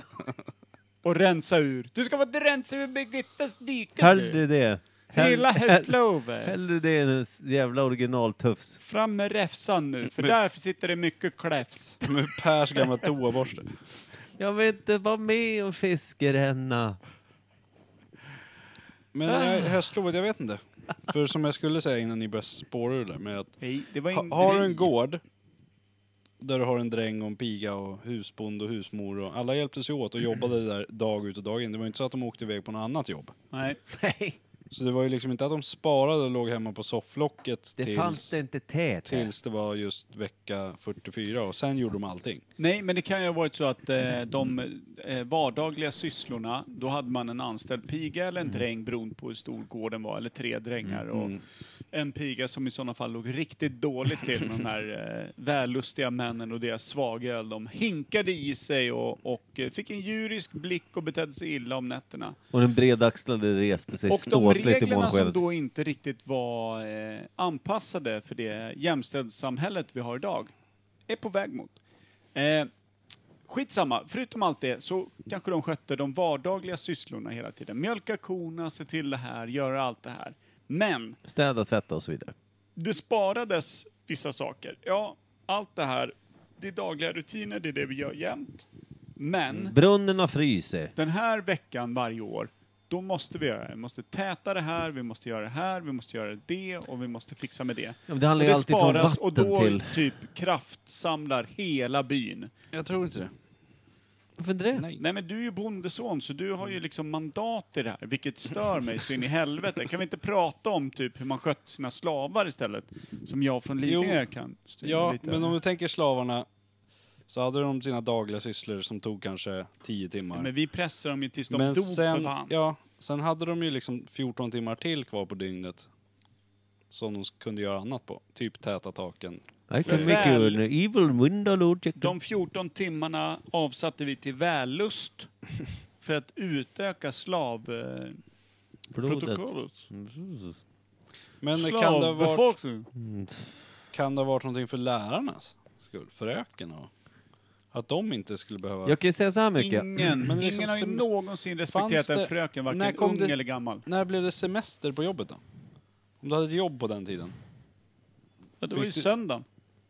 S2: Och rensa ur. Du ska få rensa ur Birgittas dike
S1: Hellre
S2: du.
S1: det. Hell-
S2: Hela
S1: hell-
S2: höstlovet.
S1: Hellre det än en jävla originaltufs.
S2: Fram med räfsan nu, för där sitter det mycket kläfs.
S3: Med Pers gamla toaborste.
S1: Jag vill inte vara med och fiskeränna.
S3: Men jag,
S2: Ah.
S3: höstlovet, jag vet inte. För som jag skulle säga innan ni började spåra ur det där med att
S2: Nej, det var
S3: ha,
S2: en
S3: har du en gård där du har en dräng och en piga och husbond och husmor och alla hjälptes ju åt och jobbade där dag ut och dag in. Det var ju inte så att de åkte iväg på något annat jobb.
S2: Nej.
S3: Så det var ju liksom inte att de sparade och låg hemma på sofflocket
S1: Det
S3: tills,
S1: fanns det inte tät här.
S3: tills det var just vecka 44 och sen gjorde de allting.
S2: Nej, men det kan ju ha varit så att eh, de eh, vardagliga sysslorna, då hade man en anställd piga eller en dräng beroende på hur stor gården var, eller tre drängar. Och En piga som i sådana fall låg riktigt dåligt till med de här eh, vällustiga männen och deras svagöl. De hinkade i sig och, och eh, fick en djurisk blick och betedde sig illa om nätterna.
S1: Och den bredaxlade reste sig
S2: Och de
S1: ståtligt i
S2: reglerna som
S1: månskenet.
S2: då inte riktigt var eh, anpassade för det jämställdhetssamhället vi har idag, är på väg mot. Eh, skitsamma, förutom allt det så kanske de skötte de vardagliga sysslorna hela tiden. Mjölka korna, se till det här, göra allt det här. Men
S1: Städa, tvätta och så vidare.
S2: det sparades vissa saker. Ja, allt det här, det är dagliga rutiner, det är det vi gör jämt. Men
S1: Brunnen har fryser.
S2: den här veckan varje år, då måste vi göra det. Vi måste täta det här, vi måste göra det här, vi måste göra det och vi måste fixa med det.
S1: Ja, men det handlar
S2: Och
S1: ju alltid från vatten
S2: och då
S1: till...
S2: typ kraftsamlar hela byn.
S3: Jag tror inte det.
S1: Varför inte det?
S3: Nej.
S2: Nej men du är ju bondeson så du har ju liksom mandat i det här, vilket stör mig så in i helvete. Kan vi inte prata om typ hur man skött sina slavar istället? Som jag från Lidingö kan styra
S3: Ja,
S2: lite.
S3: men om du tänker slavarna så hade de sina dagliga sysslor som tog kanske 10 timmar.
S2: men vi pressar dem ju tills de
S3: Men
S2: dog för
S3: sen,
S2: fan.
S3: ja, sen hade de ju liksom 14 timmar till kvar på dygnet. Som de kunde göra annat på. Typ täta taken.
S1: I
S2: För
S1: can make you
S2: väl-
S1: an evil window, Lord Jack.
S2: De 14 timmarna avsatte vi till vällust för att utöka eh, slavprotokollet.
S1: Blodet.
S3: Men kan det, ha varit,
S2: Slavbefolkningen.
S3: kan det ha varit någonting för lärarnas skull? Fröken och... Att de inte skulle behöva...
S1: Jag kan ju säga så här mycket.
S2: Ingen,
S3: Men liksom
S2: ingen har ju
S3: sem-
S2: någonsin respekterat
S3: fanns
S2: en
S3: det-
S2: fröken,
S3: när
S2: varken
S3: kom
S2: ung
S3: det-
S2: eller gammal.
S3: När blev det semester på jobbet då? Om du hade ett jobb på den tiden?
S2: Ja, det var ju
S3: Fick du-
S2: söndagen.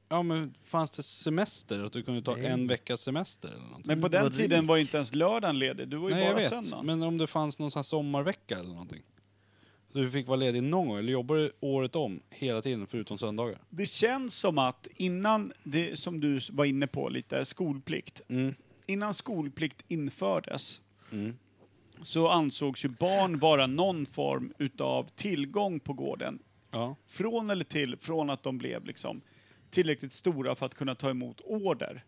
S3: Ja men fanns det semester? Att du kunde ta en veckas semester eller någonting?
S2: Men på den tiden var inte ens lördagen ledig, du var ju
S3: Mm. Nej jag
S2: bara
S3: vet.
S2: söndagen.
S3: Men om det fanns någon sån här sommarvecka eller någonting? Du fick vara ledig någon gång, eller jobbar du året om hela tiden förutom söndagar?
S2: Det känns som att innan, det som du var inne på lite, skolplikt. Innan skolplikt infördes så ansågs ju barn vara någon form utav tillgång på gården.
S3: Ja.
S2: från eller till, från att de blev liksom tillräckligt stora för att kunna ta emot order.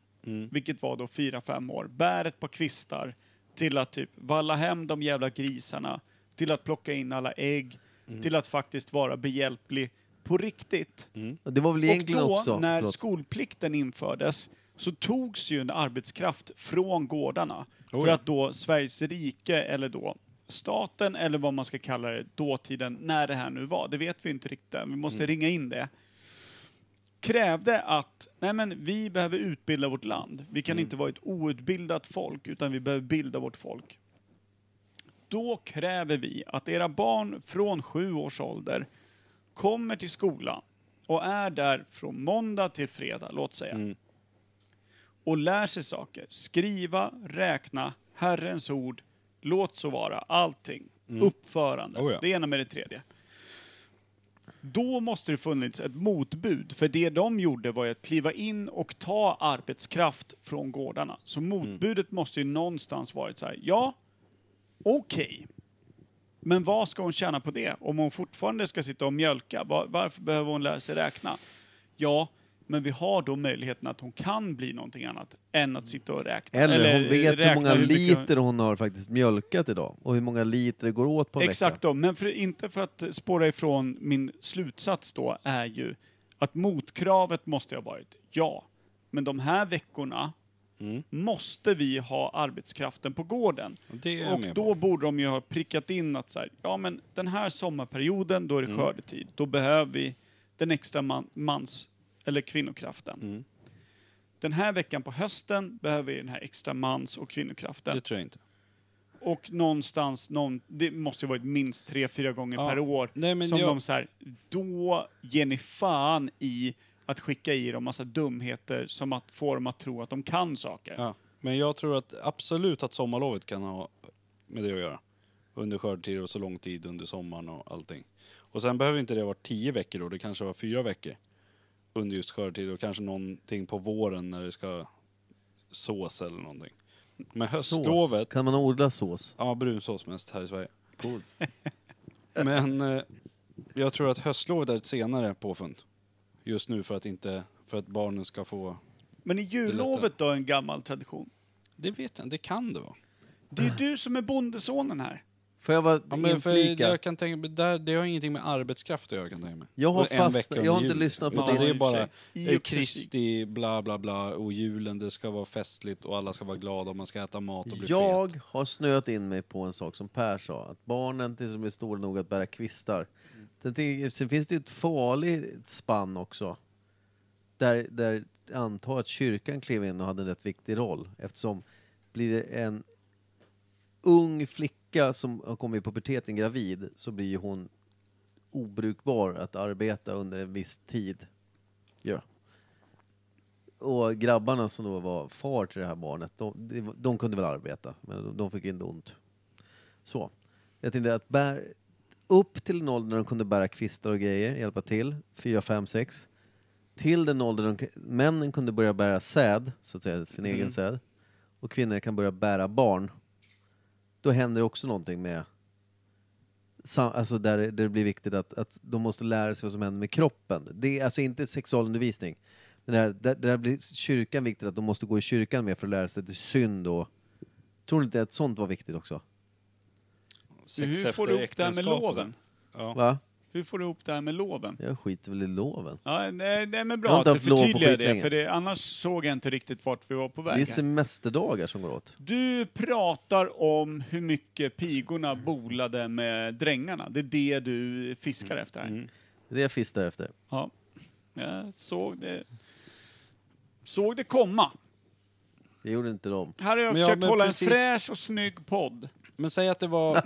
S2: Vilket var då 4-5 år. Bär ett par kvistar till att typ valla hem de jävla grisarna, till att plocka in alla ägg, till att faktiskt vara behjälplig på riktigt.
S1: Det var väl egentligen
S2: och då,
S1: också...
S2: när
S1: förlåt.
S2: skolplikten infördes, så togs ju en arbetskraft från gårdarna.
S3: Oj.
S2: För att då Sveriges rike, eller då staten, eller vad man ska kalla det, dåtiden, när det här nu var, det vet vi inte riktigt än, vi måste
S1: Mm.
S2: ringa in det krävde att nej men, vi behöver utbilda vårt
S1: Mm.
S2: land. Vi kan inte vara ett outbildat folk, utan vi behöver bilda vårt folk. Då kräver vi att era barn från sju års ålder kommer till skolan och är där från måndag till fredag, låt säga.
S3: Mm.
S2: Och lär sig saker. Skriva, räkna, Herrens ord, låt så vara, allting. Uppförande,
S3: Mm. Oh ja.
S2: det ena med det tredje. Då måste det funnits ett motbud, för det de gjorde var ju att kliva in och ta arbetskraft från gårdarna. Så
S3: Mm.
S2: motbudet måste ju någonstans varit så här, ja, okej, men vad ska hon tjäna på det? Om hon fortfarande ska sitta och mjölka, var, varför behöver hon lära sig räkna? Ja, men vi har då möjligheten att hon kan bli någonting annat än att sitta och räkna.
S1: Eller, hon vet
S2: räkna
S1: hur många
S2: mycket-
S1: liter hon har faktiskt mjölkat idag och hur många liter det går åt på en
S2: Exakt
S1: vecka.
S2: då, men för, inte för att spåra ifrån min slutsats då är ju att motkravet måste ha varit ja, men de här veckorna
S1: Mm.
S2: måste vi ha arbetskraften på gården.
S3: Det är jag
S2: Och
S3: med
S2: då borde de ju ha prickat in att så här, ja men den här sommarperioden, då är det
S3: Mm.
S2: skördetid. Då behöver vi den extra man, mans eller kvinnokraften.
S3: Mm.
S2: Den här veckan på hösten behöver vi den här extra mans och kvinnokraften.
S3: Det tror jag inte.
S2: Och någonstans, någon, det måste ju varit minst tre, fyra gånger
S3: Ja.
S2: per år.
S3: Nej, men
S2: som
S3: jag-
S2: de så här, då ger ni fan i att skicka i dem massa dumheter som att få dem att tro att de kan saker.
S3: Ja. Men jag tror att absolut att sommarlovet kan ha med det att göra. Under skördetid och så lång tid under sommaren och allting. Och sen behöver inte det vara tio veckor då, det kanske var fyra veckor. Under just skördetid och kanske någonting på våren när det ska sås eller någonting. Men höstlovet,
S1: Sås. Kan man odla sås?
S3: ja brunsås mest här i Sverige. Cool. Men eh, jag tror att höstlovet är ett senare påfund. Just nu för att inte, för att barnen ska få...
S2: Men i jullovet då, en gammal tradition.
S3: Det vet jag inte, det kan det vara.
S2: Det är du som är bondesonen här.
S1: Får jag bara
S3: Ja, men för
S1: inflika?
S3: jag kan tänka, mig- där, det har ingenting med arbetskraft att göra kan jag tänka mig.
S1: Jag har
S3: Och en
S1: fast-
S3: vecka
S1: jag
S3: under
S1: har inte
S3: jul.
S1: lyssnat på
S3: Utan
S1: din-
S3: det. är
S2: I
S3: bara
S2: och för sig.
S3: eh, Kristi bla bla bla och julen, det ska vara festligt och alla ska vara glada och man ska äta mat och bli fet.
S1: Jag har snöat in mig på en sak som Per sa, att barnen tills de är stora nog att bära kvistar. Sen, tänker jag- sen finns det ju ett farligt spann också. Där, där jag antar att kyrkan klev in och hade en rätt viktig roll. Eftersom blir det en ung flicka som har kommit i puberteten gravid så blir ju hon obrukbar att arbeta under en viss tid. Ja. Och grabbarna som då var far till det här barnet, de, de, de kunde väl arbeta, men de, de fick ju inte ont. Så. Jag tänkte att bär, upp till en ålder när de kunde bära kvistar och grejer, hjälpa till, fyra, fem, sex. Till den ålder de, männen kunde börja bära säd, så att säga, sin egen säd. Och kvinnor kan börja bära barn. Då händer också någonting med Sam- Alltså där det- det blir viktigt att, att de måste lära sig vad som händer med kroppen. Det är alltså inte sexualundervisning. Det där, där, där blir kyrkan viktigt, att de måste gå i kyrkan med för att lära sig till synd och... Tror ni inte att sånt var viktigt också?
S3: Sex
S2: Hur får
S3: efter
S2: du ihop det här med
S3: äktenskap och
S2: loven?
S3: Ja.
S1: Va?
S2: Hur får du ihop det här med loven?
S1: Jag skiter väl i loven.
S2: Ja, nej, nej men
S1: Jag har
S2: bra att
S1: inte
S2: du
S1: haft lov på
S2: förtydligar det,
S1: skitlänge.
S2: för det, annars såg jag inte riktigt vart vi var på
S1: Det är
S2: väg. här.
S1: semesterdagar som går åt.
S2: Du pratar om hur mycket pigorna bolade med drängarna. Det är det du fiskar
S3: Mm.
S2: efter här.
S1: Det är det jag fistar efter.
S2: Ja. Jag såg det. Såg det komma.
S1: Det gjorde inte de.
S2: Här har jag
S3: Men ja,
S2: försökt
S3: men
S2: hålla
S3: precis.
S2: en fräsch och snygg podd.
S3: Men säg att det var,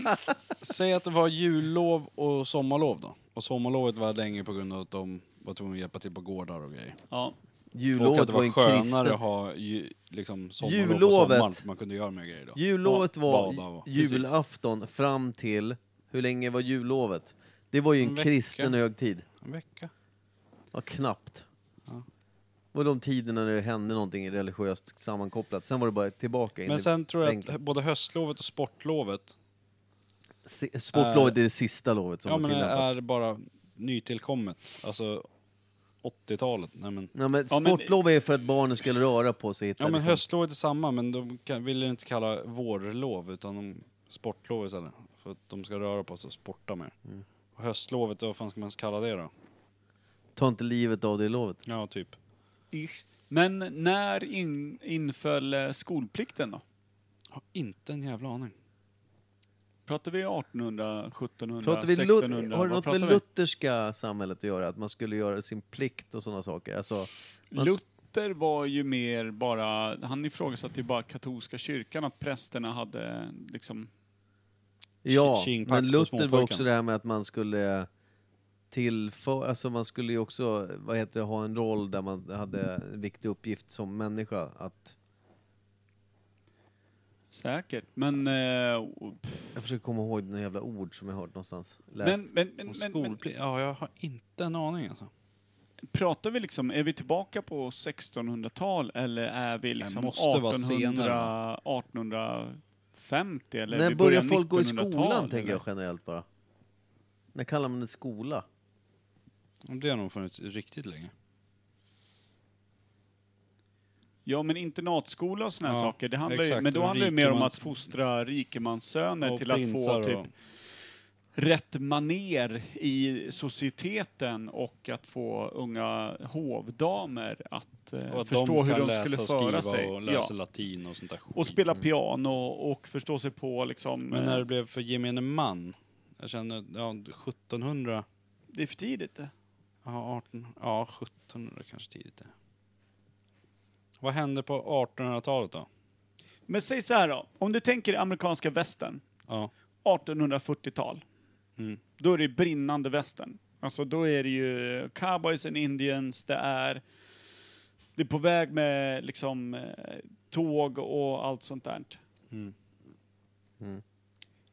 S3: säg att det var jullov och sommarlov då. Och sommarlovet var längre på grund av att de var tvungna att hjälpa till på gårdar och grejer.
S2: Ja.
S3: och att
S1: Jullovet
S3: det
S1: var
S3: var,
S1: en
S3: skönare
S1: kristen...
S3: att ha ju, liksom sommarlov
S1: Jullovet.
S3: på sommaren för man kunde göra mer grejer då.
S1: Jullovet
S3: Ja, bada
S1: var
S3: och- Precis.
S1: julafton fram till... Hur länge var jullovet? Det var ju en
S3: En vecka.
S1: kristen högtid.
S3: En vecka.
S1: Ja, knappt. Och de tiderna när det hände någonting religiöst sammankopplat. Sen var det bara tillbaka. in
S3: Men
S1: i
S3: sen tror jag att
S1: bänken.
S3: både höstlovet och sportlovet
S1: Se- Sportlovet är det sista lovet som
S3: eh, ja,
S1: har
S3: men det
S1: tillämpats.
S3: är bara nytillkommet. Alltså 80-talet. Nej, men,
S1: Ja, men
S2: Ja, men-
S1: sportlov är för att barnen ska röra på sig. och hitta
S3: ja, men
S1: liksom-
S3: höstlovet är samma, men de kan, vill inte kalla vårlov utan de, sportlov istället. För att de ska röra på sig och sporta mer.
S1: Mm.
S3: Och höstlovet, vad fan ska man kalla det då?
S1: Ta inte livet av det i lovet.
S3: Ja, typ.
S2: Ish. Men när in, inföll eh, skolplikten då?
S3: Har inte en jävla aning.
S2: Pratar vi 1800, 1700,
S1: Pratar vi Lut-
S2: 1600?
S1: har det
S2: Vad
S1: något
S2: pratar
S1: med
S2: vi?
S1: lutherska samhället att göra? Att man skulle göra sin plikt och sådana saker? Alltså,
S2: Luther var ju mer bara, han ifrågasatte ju bara katolska kyrkan, att prästerna hade liksom
S1: Ja,
S3: tjingpakt
S1: men
S3: på
S1: Luther var
S3: småpojken.
S1: också det här med att man skulle tillföra, alltså man skulle ju också, vad heter det, ha en roll där man hade en viktig uppgift som människa att,
S2: Säkert, men... eh, pff,
S1: jag försöker komma ihåg några jävla ord som jag hört någonstans, läst.
S2: men, men, men,
S3: Och
S2: men, men
S3: skolplikt? Ja, jag har inte en aning alltså.
S2: pratar vi liksom, är vi tillbaka på 1600-tal eller är vi liksom
S3: måste vara
S2: 1800,
S3: senare,
S2: 1850 eller är
S1: När
S2: vi
S1: börjar
S2: börjar
S1: folk gå i
S2: 1900-tal,
S1: skolan, tänker
S2: eller?
S1: jag generellt bara. När kallar man det skola?
S3: Det har nog funnits riktigt länge.
S2: Ja, men internatskola och sådana
S3: Ja,
S2: saker, det handlar ju,
S3: exakt.
S2: men då
S3: Och
S2: handlar det mer om att
S3: rikemans-
S2: fostra rikemanssöner
S3: Och
S2: till att få
S3: prinsar
S2: typ
S3: och-
S2: rätt maner i societeten och att få unga hovdamer att, eh,
S3: Och att
S2: förstå
S3: de
S2: hur
S3: kan
S2: de
S3: läsa
S2: skulle
S3: och
S2: föra
S3: skriva
S2: sig.
S3: och läsa
S2: ja.
S3: latin och sånt där skit.
S2: Och spela piano och förstå sig på liksom...
S3: Men när
S2: eh,
S3: det blev för gemene man, jag känner, ja 1700,
S2: Det är för tidigt det.
S3: ja 18, ja 1700 kanske tidigt det. Vad hände på 1800-talet då?
S2: Men säg så här då, om du tänker amerikanska västern,
S3: Ja.
S2: 1840-tal.
S3: Mm.
S2: Då är det brinnande västern. Alltså då är det ju cowboys and indians, det är... Det är på väg med liksom eh, tåg och allt sånt där.
S3: Mm.
S1: Mm.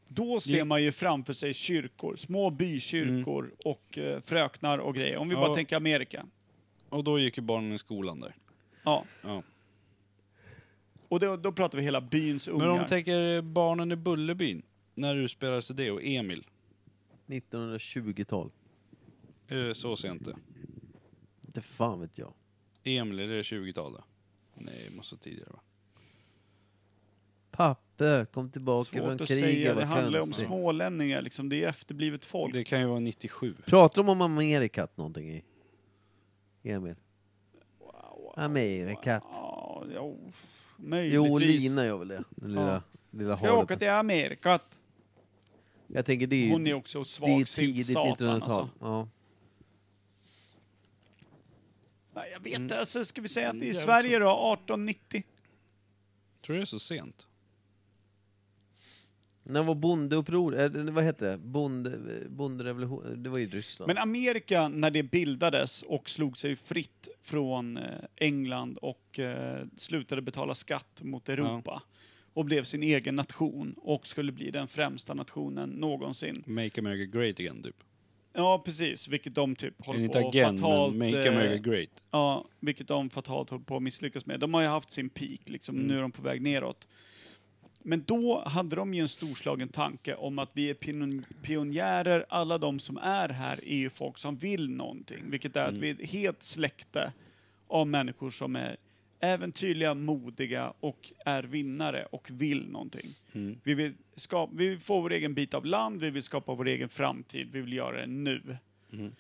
S2: Då ser man ju framför sig kyrkor, små bykyrkor och eh, fröknar och grejer. Om vi bara
S3: Mm. Ja.
S2: tänker Amerika.
S3: Och då gick ju barnen i skolan där.
S2: Ja.
S3: Ja.
S2: Och då, då pratar vi hela byns ungar.
S3: Men om du tänker barnen i Bullerbyn, när utspelar sig det och Emil?
S1: 1920-tal?
S3: Är det så sent det?
S1: Inte fan vet jag.
S3: Emil, är det 20-talet? Nej, det måste vara tidigare va?
S1: Pappa kom tillbaka från
S2: Svårt att
S1: kriget,
S2: säga,
S1: vad
S2: det handlar om
S1: konstigt.
S2: smålänningar liksom. Det är efterblivet folk.
S3: Det kan ju vara 97.
S1: Pratar de om Amerikat någonting i? Emil? Amerikat.
S2: Ja, jo,
S1: Jo,
S2: möjligtvis.
S1: Lina gör väl det. Den lilla,
S2: Ja.
S1: lilla
S2: Ska jag åka
S1: havet.
S2: till Amerika?
S1: Jag tänker det är ju
S2: Hon är också
S1: det är ju
S2: svagsint
S1: tidigt
S2: satan
S1: 1900-tal.
S2: alltså.
S1: Ja.
S2: Nej, jag vet inte, alltså, ska vi säga att i
S3: Jävligt
S2: Sverige då, 1890?
S3: Tror du det är så sent?
S1: När var bondeuppror, eller vad hette det? Bonde, bonderevolution, det var ju i Ryssland.
S2: Men Amerika, när det bildades och slog sig fritt från eh, England och eh, slutade betala skatt mot Europa och blev sin egen nation och skulle bli den främsta nationen någonsin.
S3: Make America Great Again typ.
S2: Ja, precis, vilket de typ håller
S3: Inte
S2: på
S3: again,
S2: fatalt...
S3: men Make
S2: eh,
S3: America Great.
S2: Ja, vilket de fatalt håller på att misslyckas med. De har ju haft sin peak, liksom. nu är de på väg neråt. Men då hade de ju en storslagen tanke om att vi är pion- pionjärer, alla de som är här är ju folk som vill någonting. Vilket är att vi är ett helt släkte av människor som är äventyrliga, modiga och är vinnare och vill någonting.
S3: mm.
S2: Vi, vill skapa, vi vill få vår egen bit av land, vi vill skapa vår egen framtid, vi vill göra det nu.
S3: Mm.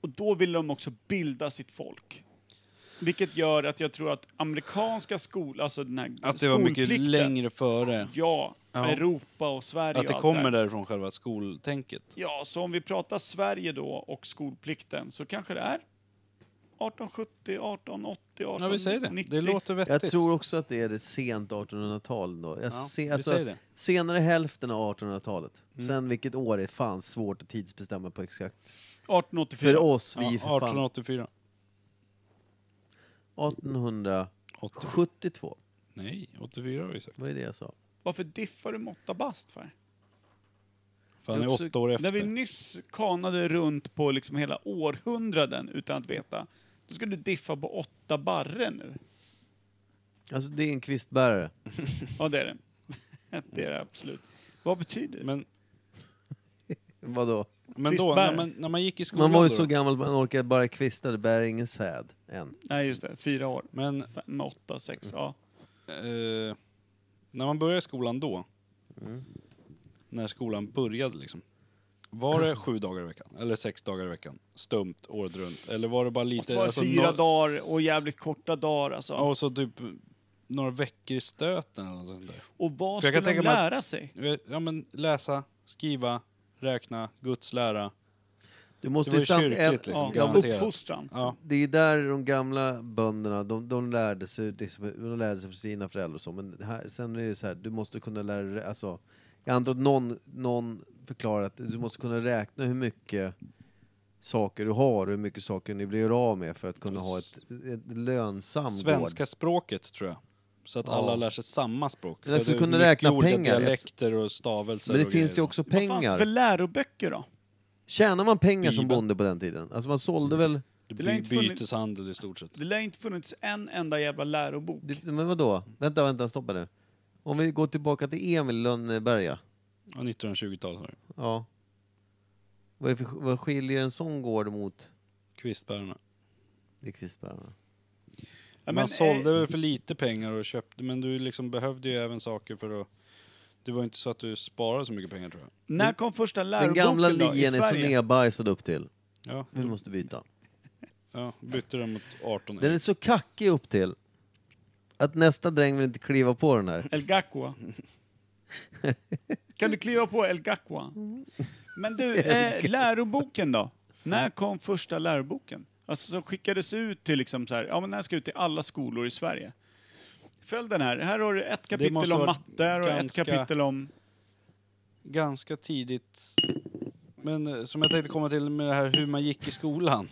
S2: Och då vill de också bilda sitt folk. Vilket gör att jag tror att amerikanska skolor, alltså den här
S3: Att det var mycket
S2: skolplikten-
S3: längre före.
S2: Ja,
S3: Ja.
S2: Europa och Sverige
S3: Att det
S2: och allt
S3: kommer
S2: där.
S3: därifrån själva skoltänket.
S2: Ja, så om vi pratar Sverige då och skolplikten så kanske det är 1870, 1880, 1890.
S3: Ja, vi säger det. Det låter
S1: jag
S3: vettigt.
S1: tror också att det är det sent 1800-tal då. Jag
S3: Ja,
S1: se,
S3: vi
S1: alltså,
S3: säger det.
S1: Senare hälften av 1800-talet.
S2: Mm.
S1: Sen vilket år är fan svårt att tidsbestämma på exakt.
S2: 1884.
S1: För oss, vi
S3: Ja,
S1: är för fan
S3: 1884. 80.
S1: 1872.
S3: Nej, 84 har vi sagt.
S1: Vad är det jag sa?
S2: Varför diffar du måtta bast för?
S3: För han
S1: Det är
S3: är
S1: också-
S3: åtta år efter.
S2: När vi nyss kanade runt på liksom hela århundraden utan att veta. Då ska du diffa på åtta barre nu.
S1: Alltså det är en kvistbärare.
S2: Ja, det är det. det är det absolut. Vad betyder det?
S3: Men,
S1: Vadå?
S3: men då,
S2: Kvistbär.
S3: när man, när man gick i skolan
S1: Man var ju
S3: då,
S1: så gammal man orkade bara kvista, det bär ingen säd än.
S2: Nej, just det. Fyra år.
S3: Men
S2: Fem, åtta, sex, ja.
S3: eh, när man började skolan då,
S1: Mm.
S3: när skolan började liksom, var det sju dagar i veckan? Eller sex dagar i veckan? Stumt, året runt? Eller var det bara
S2: Måste
S3: lite... alltså,
S2: vara Alltså, fyra
S3: nå-
S2: dagar och jävligt korta dagar alltså.
S3: Ja, och så typ några veckor i stöten eller något sånt där.
S2: Och vad
S3: För
S2: skulle
S3: jag kan
S2: de
S3: tänka mig att-
S2: lära sig?
S3: Du vet, Ja men läsa, skriva, räkna, Guds lära.
S1: Du måste
S3: Det var ju
S1: samt-
S3: kyrkligt,
S1: en-
S3: liksom,
S2: Ja,
S1: ja,
S3: garanterat.
S2: uppfostran.
S3: Ja.
S1: det är där de gamla bönderna, de, de, lärde sig, liksom, de lärde sig för sina föräldrar och så, men det här, sen är det så här, du måste kunna lära dig, alltså, jag antar att någon, någon förklarar att du måste kunna räkna hur mycket saker du har och hur mycket saker ni blir av med för att kunna ha ett, ett lönsam
S3: Svenska
S1: gård.
S3: språket tror jag. Så att
S1: Ja.
S3: alla lär sig samma språk.
S1: Men alltså,
S3: För det är
S1: kunna
S3: mycket
S1: räkna
S3: olika
S1: pengar.
S3: dialekter och stavelser
S1: Men det
S3: och
S1: finns ju
S3: grejer.
S1: också
S2: Vad fanns det för
S1: pengar.
S2: läroböcker då?
S1: Tjänar man pengar som
S3: Bibeln.
S1: bonde på den tiden? Alltså man sålde väl,
S2: Det lär
S3: Det
S2: inte
S3: by-
S2: funnits-
S3: byteshandel i stort sett.
S2: Det lär inte funnits en enda jävla lärobok.
S1: det- men vadå? Vänta, vänta, stoppa nu. Om vi går tillbaka till Emil i Lönneberga.
S3: Ja, 1920-talet.
S1: Ja. Vad, är det för, vad skiljer en sån gård mot?
S3: Kvistbärarna.
S1: Det är Kvistbärarna.
S2: Ja, men,
S3: Man sålde
S2: eh,
S3: väl för lite pengar och köpte, men du liksom behövde ju även saker för att... Det var inte så att du sparade så mycket pengar tror jag.
S2: när kom första
S1: Den
S2: läroboken
S1: gamla
S2: då, i
S1: lien är så
S2: Sverige? Mm.
S1: nedbajsad upp till.
S3: Ja,
S1: Vi måste byta.
S3: ja bytte den mot 18
S1: Den är så kackig upp till att nästa dräng vill inte kliva på den här.
S2: El Gacua. kan du kliva på El Gacua? Men du, eh, läroboken då? När kom första läroboken? Alltså som skickades ut till liksom så här, ja men den här ska ut till alla skolor i Sverige. Följ den här, här har du ett kapitel
S3: måste
S2: om
S3: vara
S2: matte här och ett
S3: ganska-
S2: kapitel om...
S3: ganska tidigt. Men eh, som jag tänkte komma till med det här hur man gick i skolan.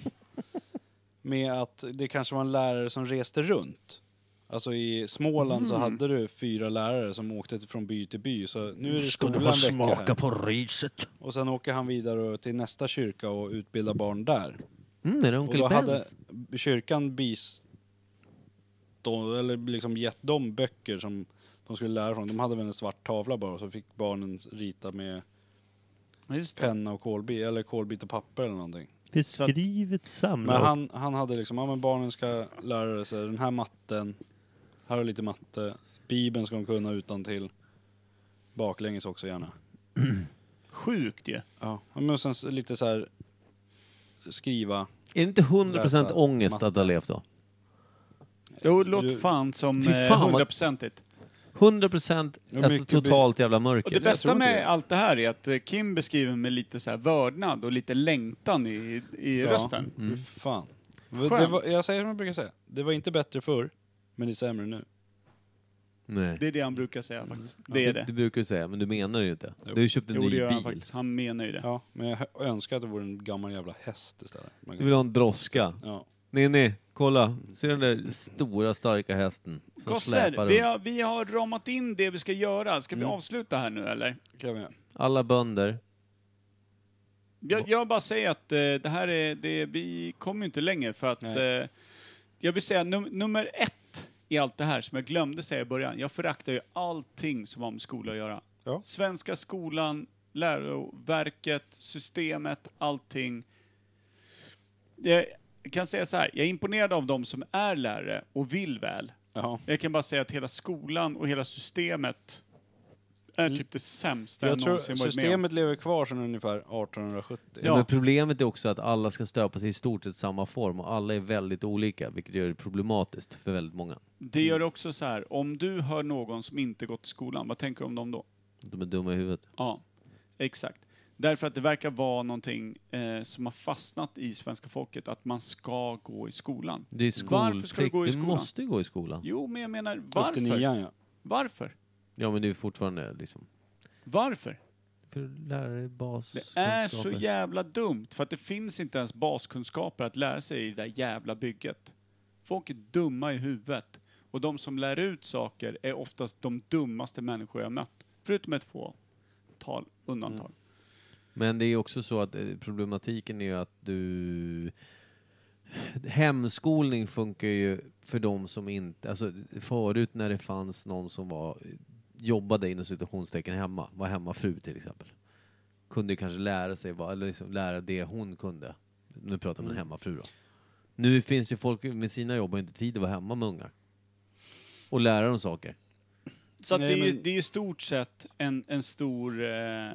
S3: Med att det kanske var en lärare som reste runt. Alltså i Småland så hade du fyra lärare som åkte från by till by. Så nu är det skolan vecka här.
S9: på riset.
S3: Och sen åker han vidare och- till nästa kyrka och utbildar barn där.
S1: Mm, är det
S3: Och
S1: Onkel
S3: då
S1: Bens?
S3: hade kyrkan bis... De, eller liksom gett dem böcker som de skulle lära från. De hade väl en svart tavla bara så fick barnen rita med
S2: Just det.
S3: penna och kolbit, eller kolbit och papper eller någonting.
S1: Mm.
S4: Beskriv ett
S3: Men
S4: samlag.
S3: han, han hade liksom, ja men barnen ska lära sig den här matten, här har lite matte, bibeln ska de kunna utan till baklänges också gärna.
S2: Sjukt ju.
S3: Ja, Ja, men sen s- lite så här skriva.
S1: Är det inte 100%
S3: Läsa
S1: ångest
S3: matte.
S1: att ha levt då?
S2: Jo, låt
S3: Du-
S2: fan som eh,
S1: Fy fan, vad-
S2: hundraprocentigt.
S1: 100%
S3: Ja,
S1: alltså
S3: mycket
S1: totalt jävla
S2: Och
S1: mörker.
S2: det bästa
S3: tror inte
S2: med
S3: det.
S2: allt det här är att eh, Kim beskriver med lite så här vördnad och lite längtan i, i rösten.
S3: Ja, fy fan. Det
S2: Skönt.
S3: var, jag säger som jag brukar säga, det var inte bättre förr, men det är sämre nu.
S1: Nej.
S2: Det är det han brukar säga faktiskt.
S3: Mm.
S2: Det är det.
S1: Det brukar du säga, men du menar det ju inte.
S3: Jo.
S1: Du har ju köpt en
S2: Jo,
S1: ny
S2: det gör han
S1: bil.
S2: faktiskt. Han menar ju det.
S3: Ja, men jag hö- önskar att det vore en gammal jävla häst istället. Man
S1: Du
S3: kan-
S1: vill ha en droska.
S3: Ja.
S1: Ninni, kolla. Ser du den där stora starka hästen? Som släpar Mm.
S2: Gossar, vi
S1: runt.
S2: har, vi har ramat in det vi ska göra. Ska vi avsluta här nu eller?
S3: Kan vi-
S1: Alla bönder.
S2: Jag, jag bara säger att eh, det här är, det, vi kommer ju inte längre för att...
S3: Nej.
S2: Eh, jag vill säga num, nummer ett i allt det här som jag glömde säga i början. Jag föraktar ju allting som har med skola att göra.
S3: Ja.
S2: Svenska skolan, läroverket, systemet, allting. Jag kan säga så här, jag är imponerad av de som är lärare och vill väl.
S3: Ja.
S2: Jag kan bara säga att hela skolan och hela systemet är typ det sämsta jag,
S3: Mm. Jag tror
S2: någonsin varit med om.
S3: systemet lever kvar sedan ungefär 1870.
S2: Ja.
S1: Men problemet är också att alla ska stöpas i i stort sett samma form och alla är väldigt olika, vilket gör det problematiskt för väldigt många.
S2: Det gör också så här, om du hör någon som inte gått i skolan, vad tänker du om dem då?
S1: De är dumma i huvudet.
S2: Ja, exakt. Därför att det verkar vara någonting eh, som har fastnat i svenska folket, att man ska gå i skolan.
S1: Det är
S2: Varför ska du
S1: skolplikt.
S2: gå i
S1: Du
S2: skolan?
S1: måste ju gå i skolan.
S2: Jo, men jag menar,
S3: Upp till
S2: varför?
S3: nian ja.
S2: Varför?
S1: Ja, men det är fortfarande liksom...
S2: Varför?
S1: För lärare, bas,
S2: Det är så
S1: kunskaper.
S2: jävla dumt, för att det finns inte ens baskunskaper att lära sig i det där jävla bygget. Folk är dumma i huvudet. Och de som lär ut saker är oftast de dummaste människor jag mött. Förutom ett fåtal undantag.
S1: Mm. Men det är också så att eh, problematiken är ju att du... Hemskolning funkar ju för de som inte... Alltså förut när det fanns någon som var, jobbade inom situationstecken hemma, var hemmafru till exempel. Kunde ju kanske lära sig, vad- eller liksom lära det hon kunde. Nu pratar man hemmafru då. Nu finns ju folk med sina jobb och inte tid att vara hemma med ungar. Och lära dem saker.
S2: Så att det,
S3: Nej,
S2: är, ju-
S3: men-
S2: det är i stort sett en, en stor... eh,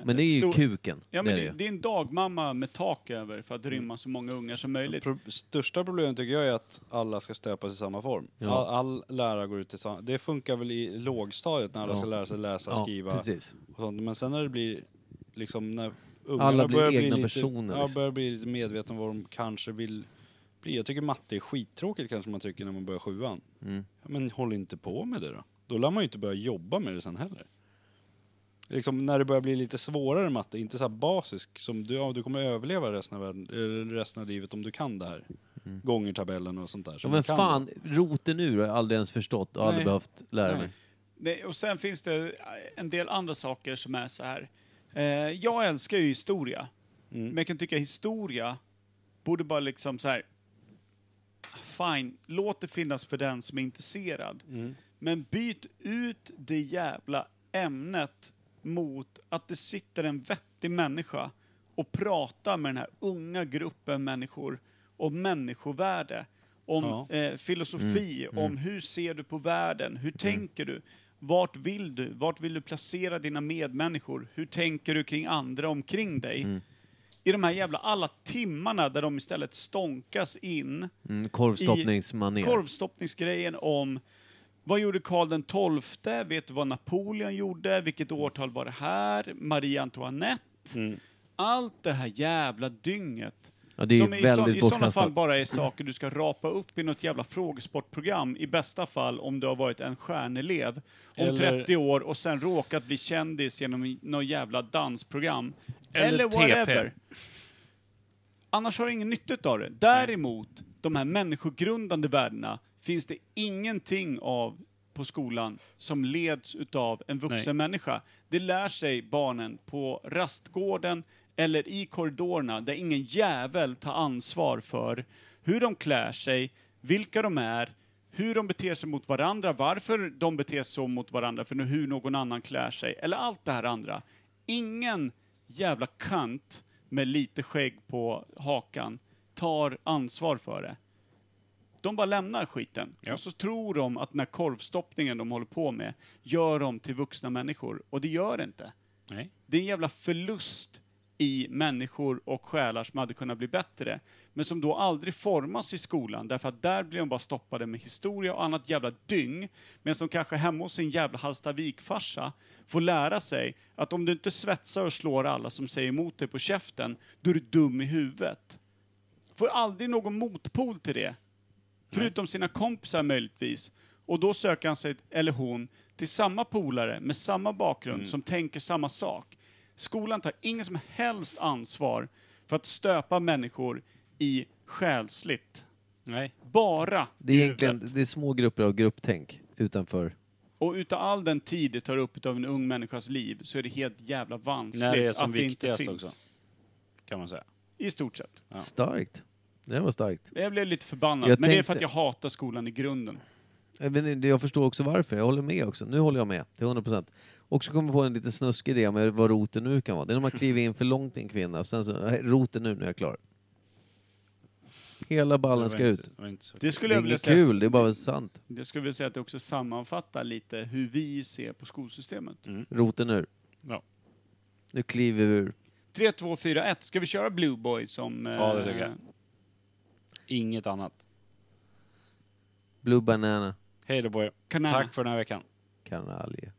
S1: Men det är ju
S2: stor,
S1: kuken.
S2: Ja,
S1: det
S2: men
S1: är det
S2: det, det,
S1: ju. Mm.
S2: är en dagmamma med tak över för att rymma så många ungar som möjligt.
S3: Pro största problemet tycker jag är att alla ska stöpas i samma form.
S1: Ja.
S3: All, all lärare går ut i samma... Det funkar väl i lågstadiet när alla
S1: Ja.
S3: ska lära sig läsa,
S1: Ja,
S3: skriva
S1: precis.
S3: och sånt. Men sen när det blir liksom när ungarna
S10: Alla blir
S3: börjar
S10: egna
S3: bli
S10: personer,
S3: Lite, ja,
S10: liksom.
S3: börjar bli lite medvetna om vad de kanske vill bli. Jag tycker matte är skittråkigt kanske man tycker när man börjar sjuan.
S10: Mm.
S3: Ja, men håll inte på med det då. Då lär man ju inte börja jobba med det sen heller. Liksom när det börjar bli lite svårare matte, inte så här basisk som du, ja, du kommer överleva resten av, världen, eller resten av livet om du kan det här. Gånger tabellen och sånt där.
S10: Mm. Ja,
S3: som
S10: men
S3: du kan
S10: fan, roten ur har jag aldrig ens förstått och aldrig
S3: Nej.
S10: behövt lära
S3: Nej.
S10: mig.
S2: Nej, och sen finns det eh, en del andra saker som är så här. Eh, jag älskar ju historia. Men jag kan tycka historia borde bara liksom så här. Fine, låt det finnas för den som är intresserad. Men byt ut det jävla ämnet mot att det sitter en vettig människa och pratar med den här unga gruppen människor om människovärde, om eh, filosofi, om hur ser du på världen, hur tänker du, vart vill du, vart vill du placera dina medmänniskor, hur tänker du kring andra omkring dig? I de här jävla alla timmarna där de istället stånkas in
S10: Mm, korvstoppningsmanér.
S2: i korvstoppningsgrejen om vad gjorde Karl den XII? Vet du vad Napoleon gjorde? Vilket årtal var det här? Marie Antoinette? Allt det här jävla dynget.
S10: Mm. Ja, det är
S2: som
S10: ju
S2: i, så,
S10: väldigt
S2: i sådana
S10: bortkastat.
S2: fall bara är saker du ska rapa upp i något jävla frågesportprogram. I bästa fall om du har varit en stjärnelev om
S3: Eller-
S2: 30 år och sen råkat bli kändis genom något jävla dansprogram. Eller,
S7: Eller
S2: whatever.
S7: TP.
S2: Annars har du ingen nytta av det. Däremot, de här människogrundande värdena finns det ingenting av på skolan som leds utav en vuxen människa. Det lär sig barnen på rastgården eller i korridorerna där ingen jävel tar ansvar för hur de klär sig, vilka de är, hur de beter sig mot varandra, varför de beter sig så mot varandra, för hur någon annan klär sig, eller allt det här andra. Ingen jävla kant med lite skägg på hakan tar ansvar för det. De bara lämnar skiten. Och så tror de att den här korvstoppningen de håller på med gör dem till vuxna människor. Och det gör det inte.
S3: Nej.
S2: Det är en jävla förlust i människor och själar som hade kunnat bli bättre. Men som då aldrig formas i skolan därför att där blir de bara stoppade med historia och annat jävla dyng. Men som kanske hemma hos sin jävla Hallstavikfarsa får lära sig att om du inte svetsar och slår alla som säger emot dig på käften, då är du dum i huvudet. Får aldrig någon motpol till det. Förutom sina kompisar möjligtvis. Och då söker han sig, eller hon, till samma polare med samma bakgrund
S10: Mm.
S2: som tänker samma sak. Skolan tar ingen som helst ansvar för att stöpa människor i själsligt.
S3: Nej.
S2: Bara
S10: Det är egentligen det är små grupper av grupptänk utanför.
S2: Och utav all den tid det tar upp utav en ung människas liv så är det helt jävla vanskligt
S3: När det är som
S2: att det inte
S3: viktigast
S2: finns.
S3: också. Kan man säga.
S2: I stort sett.
S10: Starkt. Det var starkt.
S2: Jag blev lite förbannad,
S10: Jag
S2: men det är för att
S10: tänkte-
S2: jag hatar skolan i grunden.
S10: Jag vet inte, Jag förstår också varför. Jag håller med också. Nu håller jag med till 100 procent. Också kommer på en lite snuskig idé med vad roten nu kan vara. Det är när man kliver in för långt i en kvinna och sen så, "Nej, roten nu, nu är jag klar. Hela ballen ska ut.
S3: Det var inte så.
S2: Det
S10: Det
S2: skulle
S10: är
S2: jag vilja
S10: inget
S2: säga
S10: kul, det är bara sant.
S2: Det skulle jag vilja säga att det också sammanfattar lite hur vi ser på skolsystemet.
S3: Mm.
S10: Roten ur.
S3: Ja.
S10: Nu kliver vi ur.
S2: 3, 2, 4, 1. Ska vi köra Blue Boy som...
S3: Ja, det
S2: eh,
S3: tycker jag. Inget annat.
S10: Blue Banana.
S3: Hej då på er.
S2: Kanal.
S3: Tack för den här veckan.
S10: Kanalje.